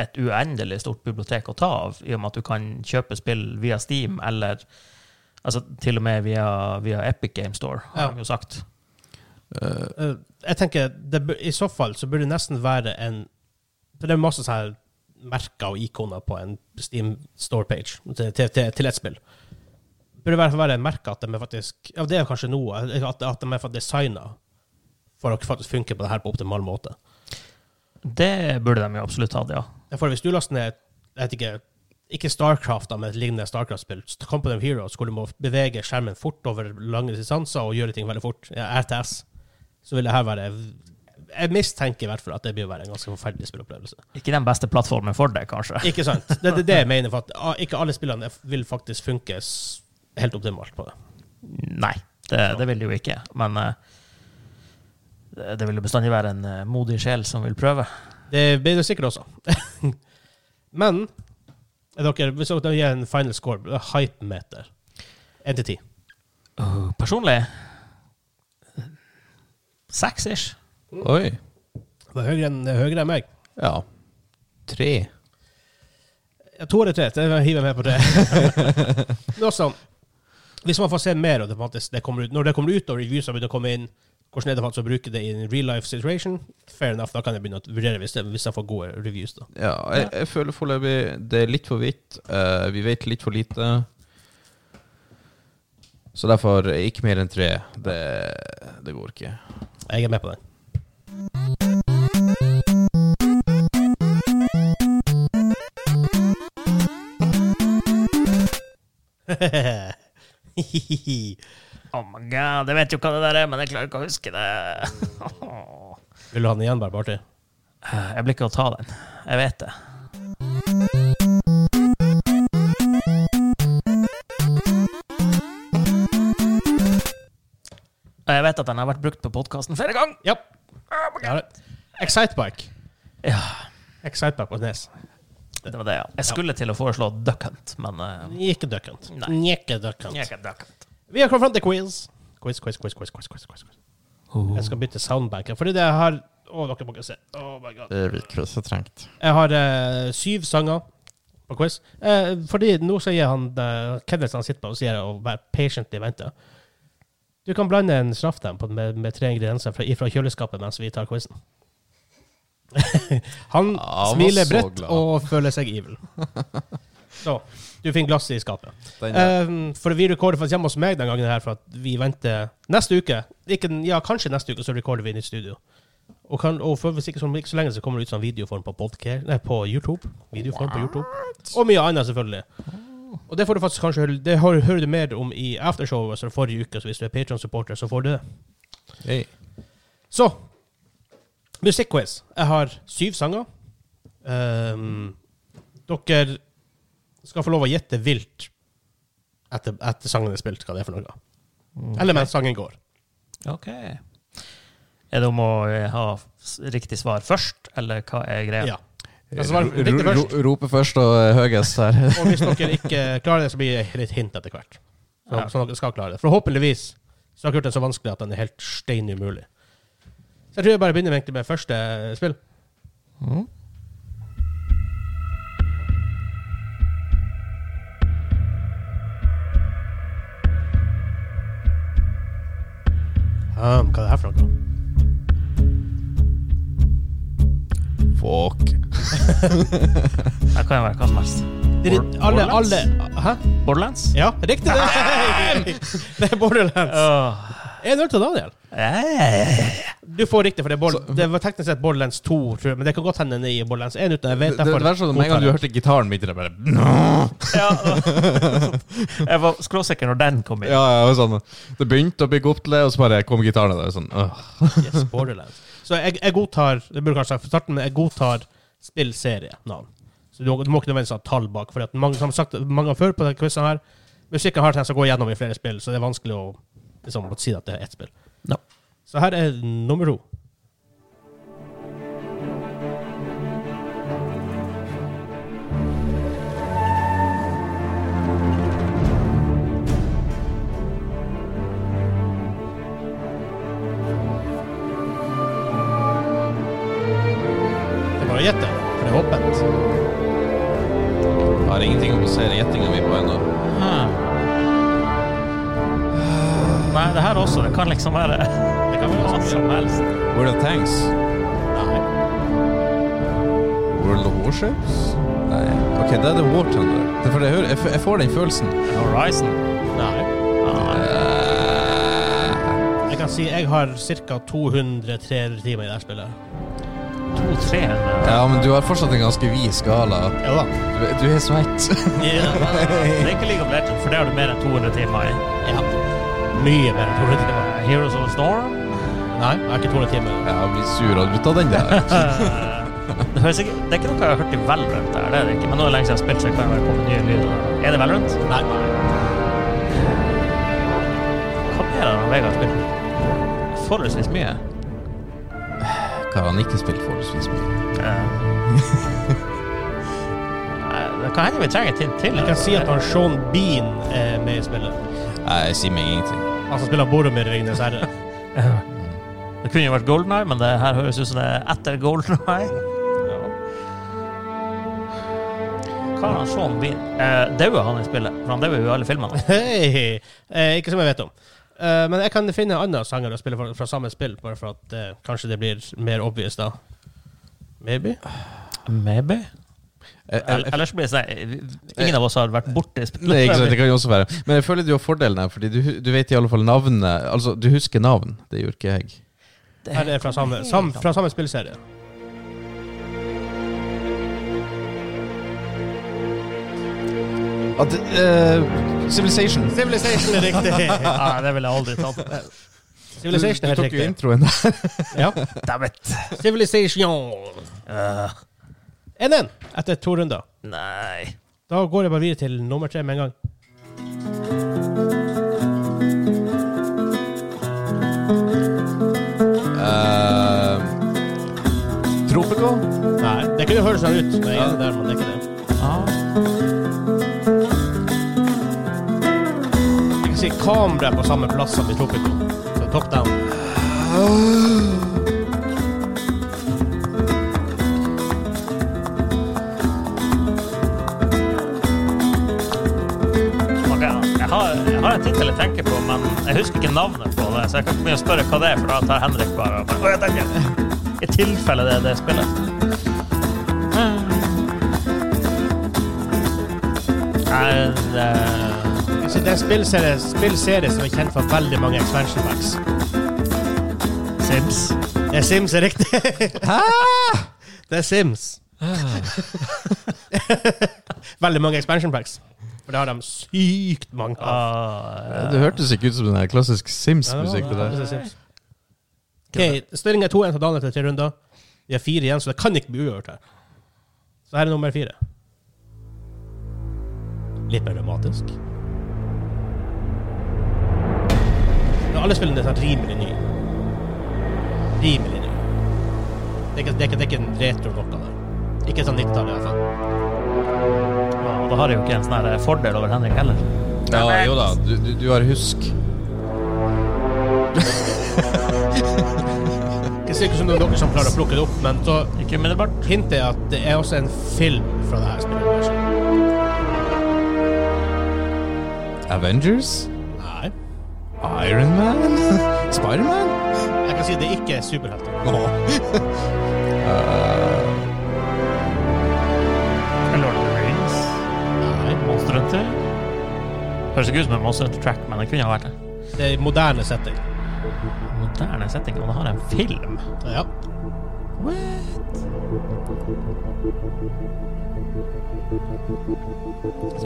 Speaker 4: et uendelig stort bibliotek å ta av, i og med at du kan kjøpe spill via Steam, eller altså, til og med via, via Epic Game Store,
Speaker 1: Ja.
Speaker 4: har de jo sagt.
Speaker 3: eh,
Speaker 1: Eh, jeg tenker, det, bur- I så fall så burde det nesten være en For det er masse sånne her merker og ikoner på en Steam Store-page til, til, til, til et spill. Burde i hvert fall være merka at de er faktisk Ja, det er kanskje noe. At, at de er designa for å faktisk funke på det her på optimal måte.
Speaker 4: Det burde de jo absolutt hatt, ja.
Speaker 1: Ja, For hvis du laster ned jeg vet ikke, ikke Starcraft, da, men et lignende Starcraft-spill, Company of Heroes, hvor du må bevege skjermen fort over lange distanser og gjøre ting veldig fort, ja, RTS, så vil det her være Jeg mistenker i hvert fall at det blir å være en ganske forferdelig spillopplevelse.
Speaker 4: Ikke den beste plattformen for det, kanskje.
Speaker 1: Ikke sant? Det er det, jeg mener, for at ah, ikke alle spillene vil faktisk funke s- helt optimalt på det.
Speaker 4: Nei. Det, det vil det jo ikke. Men eh, det det vil jo bestandig være en eh, modig sjel som vil prøve.
Speaker 1: Det blir det sikkert også. Men er dere, hvis dere gir en final score, det er hype-meter, 1 til 10
Speaker 4: Uh, personlig Seks-ish.
Speaker 3: Oi.
Speaker 1: Det er høyere enn, det er høyere enn meg.
Speaker 3: Ja. Tre.
Speaker 1: Ja, To eller tre. Det hiver jeg med på tre. Men også, hvis man får se mer av det, på en måte, det kommer ut, når det kommer ut, og reviewsene begynner å komme inn, hvordan er det faktisk å bruke det i en real life situation? Fair enough, da kan jeg begynne å vurdere hvis, det, hvis jeg får gode reviews. da.
Speaker 3: Ja, jeg, jeg føler foreløpig det er litt for vidt. Eh, vi vet litt for lite. Så derfor ikke mer enn tre. Det, det går ikke.
Speaker 1: Jeg er med på den.
Speaker 4: Oh my god, jeg vet jo hva det der er, men jeg klarer ikke å huske det.
Speaker 1: Vil du ha den igjen, bare på artig?
Speaker 4: Eh, jeg blir ikke å ta den. Jeg vet det. Og jeg vet at den har vært brukt på podkasten flere ganger.
Speaker 1: Ja. ja. Excitebike.
Speaker 4: Ja.
Speaker 1: Excitebike på Nes.
Speaker 4: Det var det, ja. Jeg skulle til å foreslå Duck Hunt, men eh,
Speaker 1: Ikke duckhunt.
Speaker 4: Nei.
Speaker 1: Ikke duckhunt.
Speaker 4: jeg er ikke Duck Hunt.
Speaker 1: Vi har kommet frem til quiz. Quiz, quiz, quiz, quiz, quiz, quiz, quiz. quiz.
Speaker 3: Oh.
Speaker 1: Jeg skal bytte soundbanker, fordi det har Å, dere må ikke se. Oh my god.
Speaker 3: Det virker så trengt.
Speaker 1: Jeg har eh, syv sanger på quiz. Eh, fordi nå sier han uh, Kenneth han sitter på og sier å være patient i vente. Du kan blande en straff dem på, med, med tre ingredienser fra, fra kjøleskapet mens vi tar quizen. han
Speaker 3: Ah, han var
Speaker 1: smiler
Speaker 3: så
Speaker 1: bredt
Speaker 3: glad.
Speaker 1: og føler seg evil. Så du finner glasset i skapet.
Speaker 3: Den,
Speaker 1: Um, for vi rekorder faktisk hjemme hos meg den gangen her, for at vi venter neste uke. Ikke, den- ja, kanskje neste uke så rekorder vi inn i studio. Og, kan, og for, hvis ikke så, ikke så lenge så kommer det ut sånn videoform på, podca- nei, på YouTube. Videoform på YouTube. Og mye annet, selvfølgelig. Og det får du faktisk kanskje høre, det hører, hører du mer om i aftershowet så forrige uke, så hvis du er Patreon-supporter, så får du det.
Speaker 3: hey.
Speaker 1: Så Musikkquiz. Jeg har syv sanger. Ehm, dere skal få lov å gjette vilt etter, etter sangen er spilt, hva det er for noe. Eller mens sangen går.
Speaker 4: Ok. Er det om å eh, ha s- riktig svar først, eller hva er greia?
Speaker 1: Ja.
Speaker 3: Eh,
Speaker 1: Altså, Jeg svarer riktig først.
Speaker 3: rope først og eh, høyest her.
Speaker 1: Og hvis dere ikke klarer det, så blir det litt hint etter hvert. Så,
Speaker 4: Ja.
Speaker 1: så dere skal klare det. Forhåpentligvis så har dere gjort den så vanskelig at den er helt stein umulig. Så jeg tror jeg bare begynner med, egentlig med første spill. Um, hva er det her for noe?
Speaker 3: Fuck.
Speaker 4: Det kan jo være hva som helst.
Speaker 1: Det er
Speaker 4: Bor-
Speaker 1: alle,
Speaker 4: Borderlands?
Speaker 1: alle Hæ?
Speaker 4: Borderlands?
Speaker 1: Ja, riktig det! det er Borderlands.
Speaker 4: Åh. eh.
Speaker 1: 1-0 til Daniel.
Speaker 4: Ja, ja, ja, ja.
Speaker 1: Du får riktig, for det, er Bor- det var teknisk sett Borderlands 2, tror jeg, men det kan godt hende den er i Borderlands 1. uten at jeg vet
Speaker 3: Det, det
Speaker 1: derfor
Speaker 3: verste var med en gang du hørte gitaren min, det bare
Speaker 4: Ja, Jeg var skråsikker når den kom inn.
Speaker 3: Ja, ja, og sånn. Det begynte å bygge opp til det, og så bare kom gitaren. Og det, var sånn, åh.
Speaker 1: Yes, Borderlands. Så jeg, jeg godtar det burde kanskje sagt fra starten, men jeg godtar spillserienavn. Så du, du må ikke nødvendigvis ha tall bak. For at mange, som sagt, mange ganger før på denne quizen her, musikken har tendens til å gå gjennom i flere spill, så det er vanskelig å liksom, si at det er ett spill.
Speaker 4: Ja.
Speaker 1: Så her er nummer to. Det er bare å gjette, for det er åpent.
Speaker 3: Jeg har ingenting å basere gjettinga mi på ennå.
Speaker 4: Nei, det her også. Det kan liksom være
Speaker 1: Det kan være
Speaker 4: hva
Speaker 1: ganske
Speaker 4: som helst.
Speaker 3: World of Tanks?
Speaker 1: Nei.
Speaker 3: World of Warships? Nei. Ok, da er det War Thunder. Det er for jeg, hører, jeg, f- jeg får den følelsen.
Speaker 4: Horizon.
Speaker 1: Nei. Jeg kan si jeg har ca. 203 timer i det her spillet.
Speaker 4: 200-300.
Speaker 3: Ja, men du har fortsatt en ganske vid skala.
Speaker 1: Ja da.
Speaker 3: Du, du er svett.
Speaker 4: Det er ikke League of Legends, for det har du mer enn 200 timer i.
Speaker 1: Ja. Mye mer enn 200 timer.
Speaker 4: Eh, Heroes of the Storm.
Speaker 1: Nei, jeg har ikke 200 timer.
Speaker 3: Jeg blir sur. Hadde du tatt den der?
Speaker 4: Eh, Det, høres ikke, det er ikke noe jeg har hørt i Valorant. Der, det er det ikke. Men nå er det lenge siden jeg har spilt, så det kan være kommet nye lyder. Er det Valorant?
Speaker 1: Nei.
Speaker 4: Hva mer er det og Vegard har spilt forholdsvis mye.
Speaker 3: Hva har han ikke spilt forholdsvis mye?
Speaker 4: Eh, Nei, det kan hende vi trenger et hint til. altså.
Speaker 1: Jeg kan si at han Sean Bean er med i spillet.
Speaker 3: Nei, jeg sier meg ingenting.
Speaker 1: Han som spiller Boromir i Ringenes herre.
Speaker 4: Det kunne jo vært Golden Eye, men det her høres ut som det er etter Golden Eye. Ja. Hva har han Sean Bean? Eh, Dauer han i spillet? For han dauer jo i alle filmene.
Speaker 1: Hei! Eh, ikke som jeg vet om. Eh, men jeg kan finne andre sanger å spille fra, fra samme spill, bare for at eh, kanskje det blir mer obvious da. Maybe?
Speaker 4: Maybe.
Speaker 3: Jeg, jeg, jeg,
Speaker 4: Ellers blir det sånn eh, Ingen av oss har vært borti spillet.
Speaker 3: Nei, ikke sant, det kan jo også være. Men jeg føler du har fordelen her, fordi du, du vet i alle fall navnet Altså, du husker navn. Det gjør ikke jeg.
Speaker 1: Her er fra samme, sam, fra samme spillserie.
Speaker 3: At, eh, Civilization.
Speaker 1: Civilization er riktig!
Speaker 4: Nei, det ville jeg aldri tatt.
Speaker 3: Du, du
Speaker 1: Civilization er helt
Speaker 3: tok jo
Speaker 1: riktig.
Speaker 3: introen der.
Speaker 1: Ja.
Speaker 4: Damn it.
Speaker 1: Civilization! Eh, 1-1 etter to runder.
Speaker 4: nei.
Speaker 1: Da går jeg bare videre til nummer tre med en gang.
Speaker 3: Eh, Tropico?
Speaker 1: Nei, det kunne høres sånn ut. men jeg er der, men det er ikke det. Jeg kan si kamera på samme plass som i Tropico. Så top down.
Speaker 4: Ok, Jeg har, jeg har en tittel jeg tenker på, men jeg husker ikke navnet på det. Så jeg kan ikke begynne å spørre hva det er, for da tar Henrik bare og bare, «Å, jeg tenker». I tilfelle det er det spillet. Nei, det-
Speaker 1: Altså, det er en spillserie, spillserie som er kjent for veldig mange expansion packs.
Speaker 4: Sims.
Speaker 1: Det er Sims er riktig. Hæ? Det er Sims. veldig mange expansion packs. For det har de sykt mange av.
Speaker 4: Ah,
Speaker 3: Det hørtes ikke ut som den der klassisk Sims-musikk. det der.
Speaker 1: er Sims. Ok, Stillinga er 2-1 til Daniel etter tre runder. Vi har fire igjen, så det kan ikke bli uavgjort her. Så her er nummer fire. Litt mer dramatisk. Ja, alle spillene er sånn rimelig nye. Rimelig nye. Det er ikke, det er ikke, det er ikke en retro noe der. Ikke sånn 90-tallet i hvert fall.
Speaker 4: ja, og da har jeg jo ikke en sånn her fordel over Henrik heller.
Speaker 3: Ja, jo da, du, du, du har husk.
Speaker 1: Det ser ikke som det er noen som klarer å plukke det opp, men så
Speaker 4: Ikke umiddelbart.
Speaker 1: hintet er at det er også en film fra det her spillet.
Speaker 3: Avengers?
Speaker 1: Nei.
Speaker 3: Iron Man? Spiderman?
Speaker 1: Jeg kan si det ikke er superhelter.
Speaker 3: Oh.
Speaker 4: Lord of the Rings.
Speaker 1: Nei.
Speaker 4: Monster Hunter. Høres ikke ut som en Monster Hunter track, men det kunne ha vært det.
Speaker 1: Det er moderne setting.
Speaker 4: Moderne setting, og det har en film.
Speaker 1: Ja.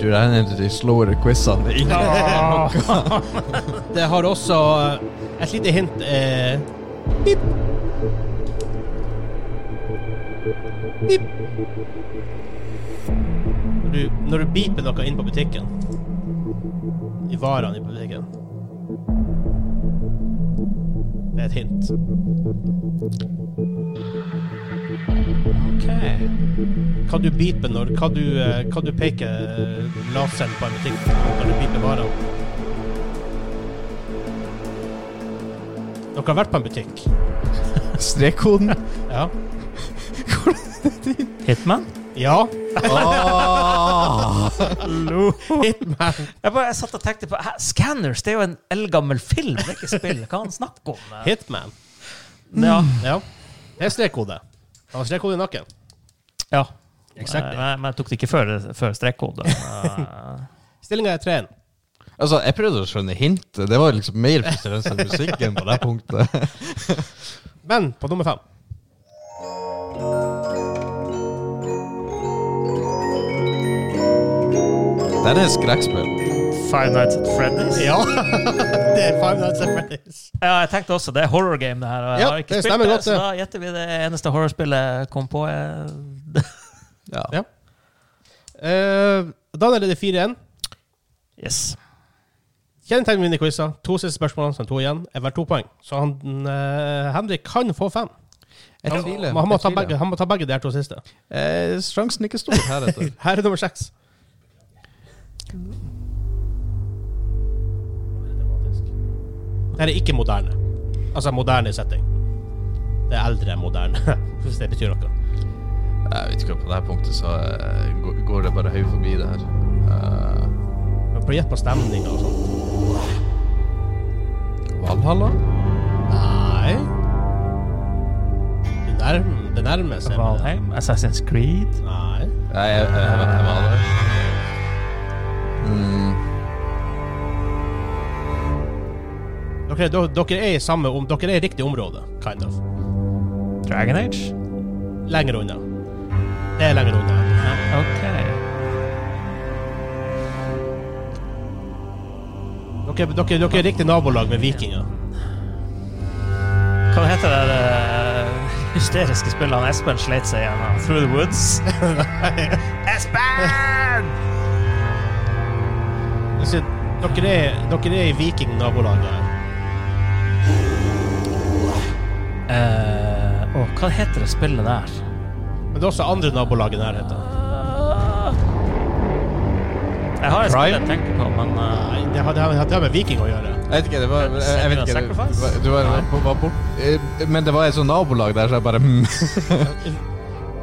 Speaker 3: Du, det her er en av de slåere quizene.
Speaker 4: Ah.
Speaker 1: Det har også eh, et lite hint eh, Pip. Pip. Når du, når du beeper noe inn på butikken I varene i butikken Det er et hint.
Speaker 4: Ok.
Speaker 1: Hva du beeper når Hva du, eh, hva du peker eh, laseren på en butikk når du beeper varene. Dere har vært på en butikk?
Speaker 3: Strekkoden?
Speaker 1: Ja.
Speaker 4: Hitman?
Speaker 1: Ja.
Speaker 3: Åh.
Speaker 1: Hitman.
Speaker 4: Jeg bare jeg satt og tenkte på hæ, Scanners det er jo en eldgammel film, det er ikke spill. Hva han snakker om? eh?
Speaker 1: Hitman.
Speaker 4: Ja.
Speaker 1: Ja. Det er strekkode. Han har strekkode i nakken.
Speaker 4: ja.
Speaker 1: Exactly.
Speaker 4: Nei, men jeg tok det ikke før, før strekkode. Eh,
Speaker 1: Stillinga er 3-1.
Speaker 3: altså, jeg prøvde å skjønne hintet. Det var liksom mer frustrerende enn musikken på det punktet.
Speaker 1: Men på nummer fem
Speaker 3: Det er et skrekkspill.
Speaker 4: Five Nights at Freddy's? Ja.
Speaker 1: Ja! det er Five Nights at Freddy's.
Speaker 4: jeg tenkte også det er horror game, det her. Og jeg
Speaker 1: Ja,
Speaker 4: har ikke
Speaker 1: det
Speaker 4: spilt
Speaker 1: stemmer
Speaker 4: det,
Speaker 1: godt,
Speaker 4: så
Speaker 1: det.
Speaker 4: da gjetter vi det eneste horrorspillet jeg kom på. eh,
Speaker 3: Ja.
Speaker 1: Ja. Eh, Daniel er det 4-1.
Speaker 4: Yes.
Speaker 1: Kjennetegn vinner quizer. To siste spørsmål, så er det to igjen, er vel to poeng. Så han, eh, Henrik kan få fem.
Speaker 3: Jeg
Speaker 1: Han,
Speaker 3: tviler.
Speaker 1: men han, må
Speaker 3: jeg
Speaker 1: ta
Speaker 3: tviler.
Speaker 1: begge, han må ta begge de her to siste.
Speaker 3: Eh, sjansen er ikke stor heretter.
Speaker 1: Her er nummer seks. Det her er ikke moderne. Altså moderne setting. Det er eldre enn moderne, hvis det betyr noe.
Speaker 3: jeg vet ikke, hva, på det her punktet så eh, går- går det bare høy forbi det her. Eh,
Speaker 1: Men Prøv å gjette på stemninga og sånt.
Speaker 3: Valhalla?
Speaker 1: Nei Det, nærm, det nærmer seg. men-
Speaker 4: Valheim, Assassin's Creed
Speaker 1: Nei.
Speaker 3: Nei, jeg, jeg, jeg, jeg var der.
Speaker 1: Dere, do- dere er i samme om, Dere er i riktig område, kind of.
Speaker 4: Dragon Age?
Speaker 1: Lenger unna. Det er lenger unna.
Speaker 4: OK.
Speaker 1: Dere, dere, dere er i riktig nabolag med vikinger.
Speaker 4: Hva heter det eh, hysteriske spillet han Espen sleit seg gjennom? Through the Woods? Espen!
Speaker 1: Så Dere er, dere er i vikingnabolaget. her.
Speaker 4: Eh, Å, hva heter det spillet der?
Speaker 1: Men det er også andre nabolag i nærheten.
Speaker 4: Jeg har et spill jeg
Speaker 3: Prime?
Speaker 4: tenker på, men eh,
Speaker 1: Nei, det har, det har, det har med viking å gjøre.
Speaker 3: Jeg vet ikke, det var jeg, jeg vet ikke, det, var- du var, var, var bort, eh, Men det var et sånt nabolag der, så jeg bare hmm.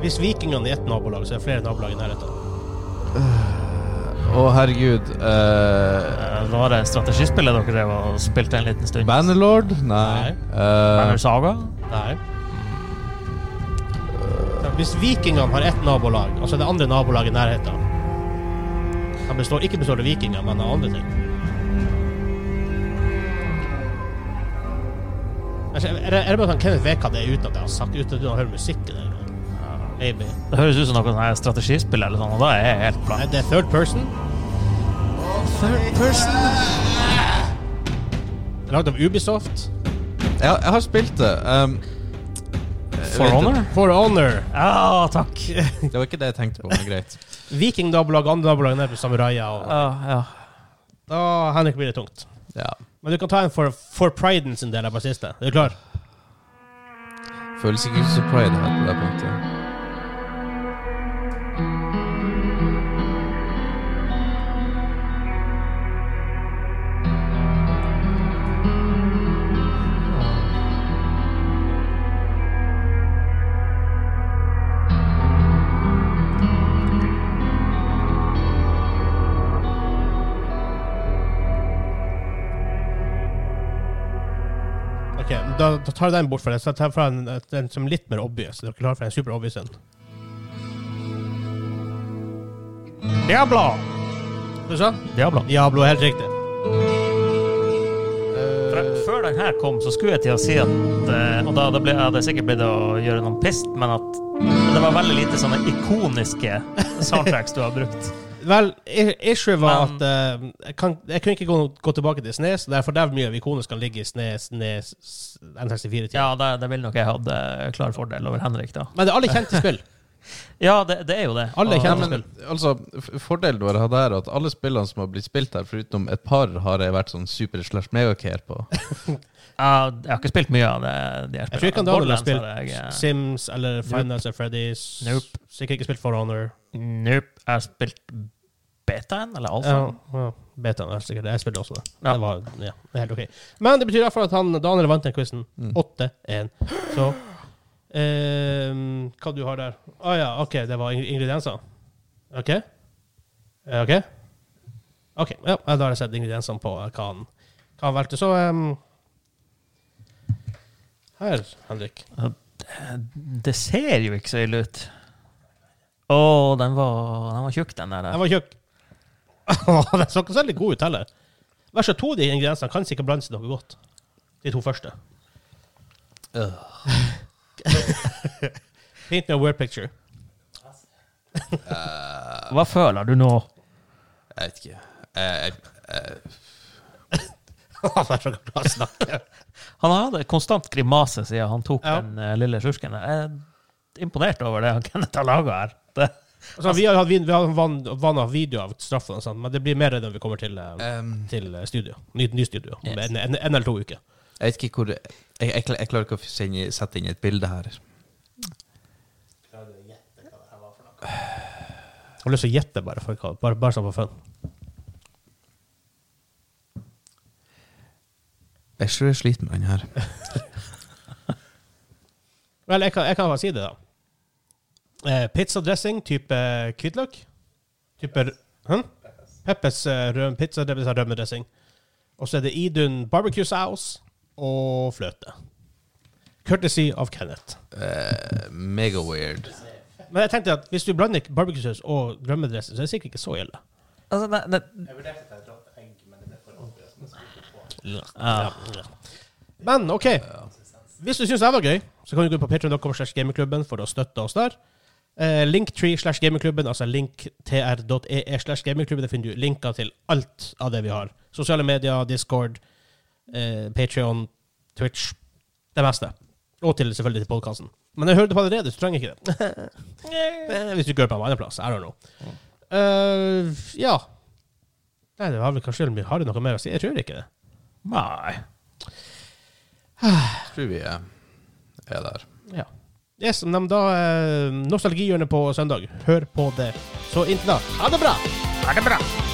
Speaker 1: Hvis vikingene er ett nabolag, så er det flere nabolag i nærheten.
Speaker 3: Å, herregud. eh,
Speaker 4: eh, var det strategispillet dere drev og spilte en liten stund?
Speaker 3: Bannerlord? Nei.
Speaker 1: Nei.
Speaker 3: Eh,
Speaker 4: Banner Saga?
Speaker 1: Nei. Hvis vikingene har ett nabolag, altså det andre nabolaget i nærheten Han består, ikke består av vikinger, men av andre ting. Altså, Er det, er det bare sånn Kenneth vet hva det er uten at jeg har sagt uten at du har hørt musikken? eller noe? Maybe.
Speaker 4: Det høres ut som noe sånn her strategispill, eller sånn, og da er jeg helt blank.
Speaker 1: Nei, det er third person.
Speaker 4: Third person?
Speaker 1: Det er Lagd av Ubisoft.
Speaker 3: jeg, jeg har spilt det. ehm,
Speaker 4: For Honor?
Speaker 1: For Honor.
Speaker 4: Ja, takk.
Speaker 3: det var ikke det jeg tenkte på, men greit.
Speaker 1: Vikingnabolag, andre nabolag nede på samuraier. Og...
Speaker 4: Ja, ja.
Speaker 1: Da, Henrik, blir det tungt.
Speaker 3: Ja.
Speaker 1: Men du kan ta en for, for priden sin del av på siste. Er du klar?
Speaker 3: Føles ikke så pride her på det punktet.
Speaker 1: Ok, Da, da tar jeg den bort for deg. Så jeg tar fra en, en som er litt mer obvious. Er du klar for en super obvious en? Diablo! Du sa?
Speaker 4: Diablo.
Speaker 1: Diablo, helt riktig.
Speaker 4: For jeg- Før den her kom, så skulle jeg til å si at eh, Og da, da ble, hadde jeg sikkert blitt å gjøre noen pist, men at det var veldig lite sånne ikoniske soundtracks du har brukt.
Speaker 1: Vel, i- issue var
Speaker 4: Men-
Speaker 1: at eh, jeg, kan, jeg kunne ikke gå, gå tilbake til Snes. Derfor der mye av ikonene skal ligge i Snes, Snes N64-tida.
Speaker 4: Ja, det, det ville nok jeg hatt klar fordel over Henrik, da.
Speaker 1: Men det er alle kjente spill.
Speaker 4: Ja, det, det er jo det.
Speaker 1: Alle
Speaker 4: Og-
Speaker 1: kjenner-
Speaker 3: Ja, men, altså, f- fordelen vår hadde her at alle spillene som har blitt spilt her, foruten et par, har jeg vært sånn super slash megacare på.
Speaker 4: Ja, jeg har ikke spilt mye av det, de her
Speaker 1: Jeg tror ikke
Speaker 4: spillene.
Speaker 1: han Daniel har
Speaker 4: Borderlands har jeg, eh,
Speaker 1: spilt Sims eller Finance eller Freddy's.
Speaker 4: Nope.
Speaker 1: Sikkert ikke spilt For Honor.
Speaker 4: Nope. Jeg har spilt betaen, eller
Speaker 1: Ja,
Speaker 4: alfaen.
Speaker 1: ja. Betaen er sikkert Jeg spilte også det.
Speaker 4: Ja.
Speaker 1: Det var ja, det er helt ok. Men det betyr i hvert fall at han, Daniel vant den quizen. 8-1. Så ehm, Hva du har der? Å ah, ja, OK. Det var ing- ingredienser. OK? Eh, OK? OK. Ja, da har jeg sett ingrediensene på eh, hva han, hva han valgte. Så ehm, Her, Henrik.
Speaker 4: Det ser jo ikke så ille ut. Å, den var, den var tjukk, den der.
Speaker 1: Den var tjukk. Åh, Den så ikke så veldig god ut heller. Hver så to av de ingrediensene kan sikkert blandes noe godt. De to første. Paint me a weird picture.
Speaker 4: Hva føler du nå?
Speaker 3: Jeg vet ikke. Jeg,
Speaker 1: Han er så glad i å snakke.
Speaker 4: Han har hatt et konstant grimase siden han tok
Speaker 1: Ja.
Speaker 4: den eh, lille sjursken. der. Jeg er imponert over det han Kenneth har laga her. Det,
Speaker 1: Altså, vi har hatt vin- vi har van- vanna video av straffene, og sånt, men det blir mer når vi kommer til, eh,
Speaker 3: Ehm,
Speaker 1: til eh, studio. Ny, ny studio. om
Speaker 4: Yes.
Speaker 1: En, en, en eller to uker.
Speaker 3: jeg vet ikke hvor Jeg, jeg, kla- jeg klarer ikke å sende, sette inn et bilde her.
Speaker 1: Jeg har lyst til å gjette, bare, for, hva- bare, bare sånn for fun.
Speaker 3: Jeg tror jeg sliter med den her.
Speaker 1: Vel, jeg kan, jeg kan bare si det, da. Eh, pizzadressing type hvitløk. Type hm? Peppes eh, røm, pizza, det vil si rømmedressing. Og så er det Idun barbecue sauce og fløte. Courtesy av Kenneth.
Speaker 3: Eh, mega weird.
Speaker 1: Men jeg tenkte at hvis du blander barbecue sauce og rømmedressing, så er det sikkert ikke så ille.
Speaker 4: Altså, det, det,
Speaker 1: Ja. Men OK. Hvis du syns det var gøy, så kan du gå inn på patreon.com slash gamingklubben for å støtte oss der. Eh, Linktree slash gamingklubben, altså linktr.ee slash gamingklubben. Der finner du linker til alt av det vi har. Sosiale medier, Discord, eh, Patreon, Twitch. Det meste. Og til selvfølgelig til podkasten. Men jeg hører det på allerede, så du trenger ikke det. Eh, Hvis du ikke hører på en annen plass. I don't know. Eh, ja. Nei, det var vel kanskje Har du noe mer å si? Jeg tror ikke det.
Speaker 4: nei.
Speaker 3: Tror vi er, er der.
Speaker 1: Ja. Yes, men da eh, Nostalgihjørnet på søndag. Hør på det. Så inntil da, ha det bra!
Speaker 4: Er det bra?